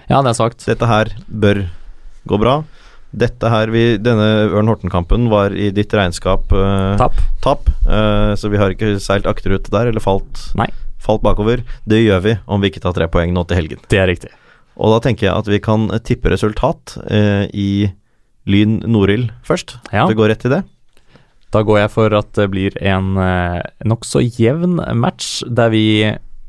Ja, det er svakt. dette her bør gå bra. Dette her vi, Denne Ørn Horten-kampen var i ditt regnskap eh, Tap. tap, eh, så vi har ikke seilt akterut der, eller falt, Nei. falt bakover. Det gjør vi om vi ikke tar tre poeng nå til helgen. Det er riktig. Og da tenker jeg at vi kan tippe resultat eh, i Lyn Norild først. Ja. Det går rett til det. Da går jeg for at det blir en eh, nokså jevn match, der vi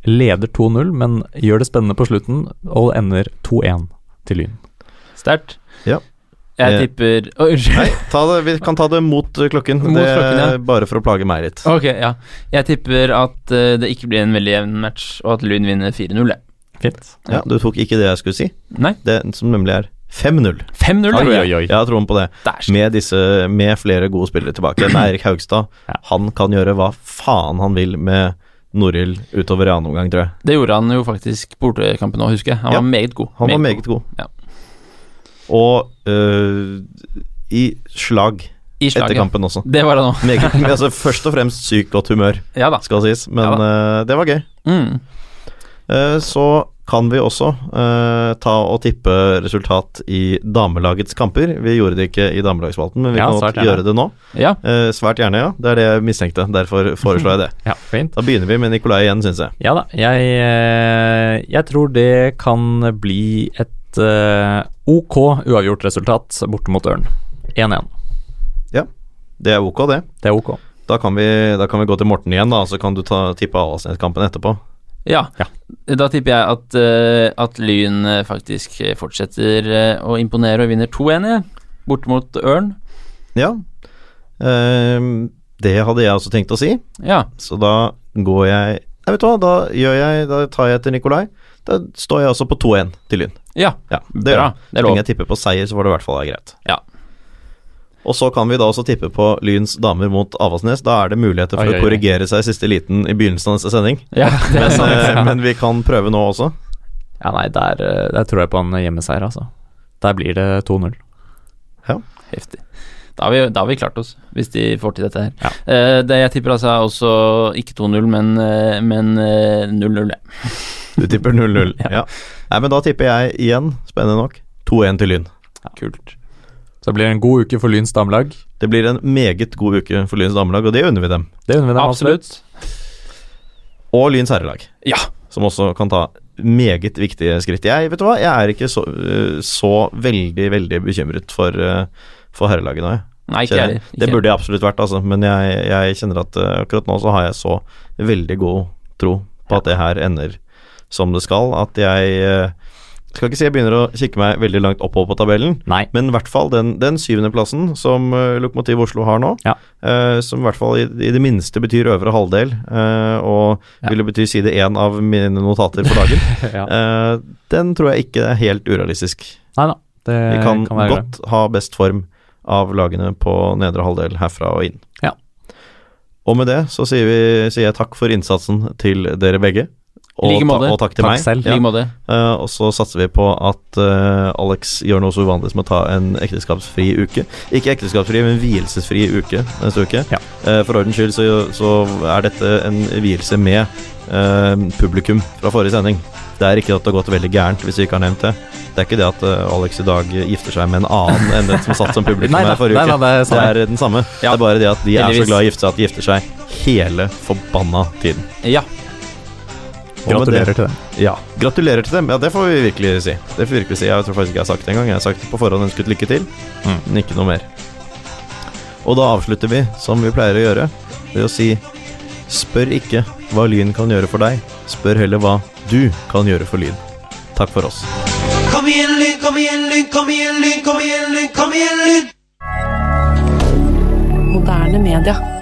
leder 2-0, men gjør det spennende på slutten og ender 2-1 til Lyn. Sterkt. Ja. Jeg Eh. tipper Å, unnskyld. Nei, ta det, vi kan ta det mot eh, klokken. Mot det, klokken, ja. Bare for å plage meg litt. Ok, ja. Jeg tipper at eh, det ikke blir en veldig jevn match, og at Lyn vinner 4-0. jeg. Fint. Ja, du tok ikke det jeg skulle si. Nei, Det som nemlig er 5-0. 5-0. tror jeg. Jeg har troen på det. Dæsj. med, disse, med flere gode spillere tilbake. Men Erik Haugstad, Ja. han kan gjøre hva faen han vil med Norild utover i annen omgang, tror jeg. Det gjorde han jo faktisk bortekampen òg, husker jeg. Han Ja. var meget god. Han var meget god. Ja. Og øh, i slag I etter slaget. kampen også. Det var han òg. Meget, men altså, først og fremst sykt godt humør, Ja da. skal sies, men øh, det var gøy. Mm. Eh, så kan vi også eh, ta og tippe resultat i damelagets kamper. Vi gjorde det ikke i damelagsspalten, men vi Ja, kan godt svært gjerne. gjøre det nå. Ja. Eh, svært gjerne, ja. Det er det jeg mistenkte. Derfor foreslår jeg det. Ja, fint. Da begynner vi med Nikolai igjen, syns jeg. Ja da, jeg, eh, jeg tror det kan bli et eh, ok uavgjort resultat borte mot Ørn. 1-1. Det er ok, det. Det er ok. Da kan, vi, da kan vi gå til Morten igjen, da, så kan du ta, tippe Alasnes-kampen etterpå. Ja. Da tipper jeg at, eh, at Lyn eh, faktisk eh, fortsetter eh, å imponere og vinner 2-1, jeg. Borte mot Ørn. Ja. Ehm, det hadde jeg også tenkt å si, Ja. så da går jeg Nei, vet du hva, da, gjør jeg, da tar jeg til Nikolai. Da står jeg også på 2-1 til Lyn. ja. Ja, det gjør Bra. jeg. Det Så er lov. lenge jeg tipper på seier, så får det i hvert fall være greit. Ja. Og så kan vi da også tippe på Lyns damer mot Avaldsnes. Da er det muligheter for Oi, oi, å oi. korrigere seg i siste liten i begynnelsen av neste sending. Ja, det er Men, sant. eh, men vi kan prøve nå også. Ja, nei, der, eh, der tror jeg på en hjemmeseier, altså. Der blir det 2-0. Heftig. Da har, vi, da har vi klart oss, hvis de får til dette her. Ja. Eh, det jeg tipper altså er også ikke 2-0, men eh, men, eh, 0-0. ja. Du tipper 0-0. ja. Nei, men da tipper jeg igjen, spennende nok, 2-1 til Lyn. Kult. Så det blir en god uke for Lyns damelag. Det blir en meget god uke for Lyns damelag, og det unner vi dem. Det unner vi dem absolutt. Og Lyns herrelag, Ja. som også kan ta meget viktige skritt. Jeg vet du hva, jeg er ikke så, øh, så veldig, veldig bekymret for, øh, for herrelaget nå. jeg. Nei, ikke Kjenner jeg jeg. Det burde jeg absolutt vært, altså, men jeg, jeg kjenner at øh, akkurat nå så har jeg så veldig god tro på at det her ender som det skal, at jeg øh, skal ikke si jeg begynner å kikke meg veldig langt oppover på tabellen, Nei. men i hvert fall den, den syvendeplassen som uh, Lokomotiv Oslo har nå, Ja. eh, som i hvert fall i, i det minste betyr øvre halvdel, eh, og Ja. ville bety side én av mine notater for dagen, Ja. eh, den tror jeg ikke er helt urealistisk. Nei da. Det Vi kan, Eh, kan være godt ha best form av lagene på nedre halvdel herfra og inn. Ja. Og med det så sier, vi, sier jeg takk for innsatsen til dere begge. Og, I like måte. ta- og takk til Takk meg. selv. I like måte. Eh, og så satser vi på at eh, Alex gjør noe så uvanlig som å ta en ekteskapsfri uke. Ikke ekteskapsfri, men vielsesfri uke neste uke. Ja. Eh, for ordens skyld så, så er dette en vielse med eh, publikum fra forrige sending. Det er ikke at det har gått veldig gærent, hvis vi ikke har nevnt det. Det er ikke det at eh, Alex i dag gifter seg med en annen enn den som satt som publikum Nei da, her forrige nei uke. da, det er det samme. er den samme. Ja. Det er bare det at de er Heldigvis. så glad i å gifte seg at de gifter seg hele forbanna tiden. Ja. Og med det- Gratulerer til det. ja, gratulerer til dem. Ja, det får vi virkelig si. Det får vi virkelig si. Jeg tror faktisk ikke jeg har sagt det engang. Jeg har sagt på forhånd ønsket lykke til, men ikke noe mer. Og da avslutter vi som vi pleier å gjøre, ved å si spør ikke hva Lyn kan gjøre for deg, spør heller hva du kan gjøre for Lyn. Takk for oss. Kom igjen, Lyn, kom igjen, Lyn, kom igjen, Lyn, kom igjen, Lyn, kom igjen, Lyn! Moderne media.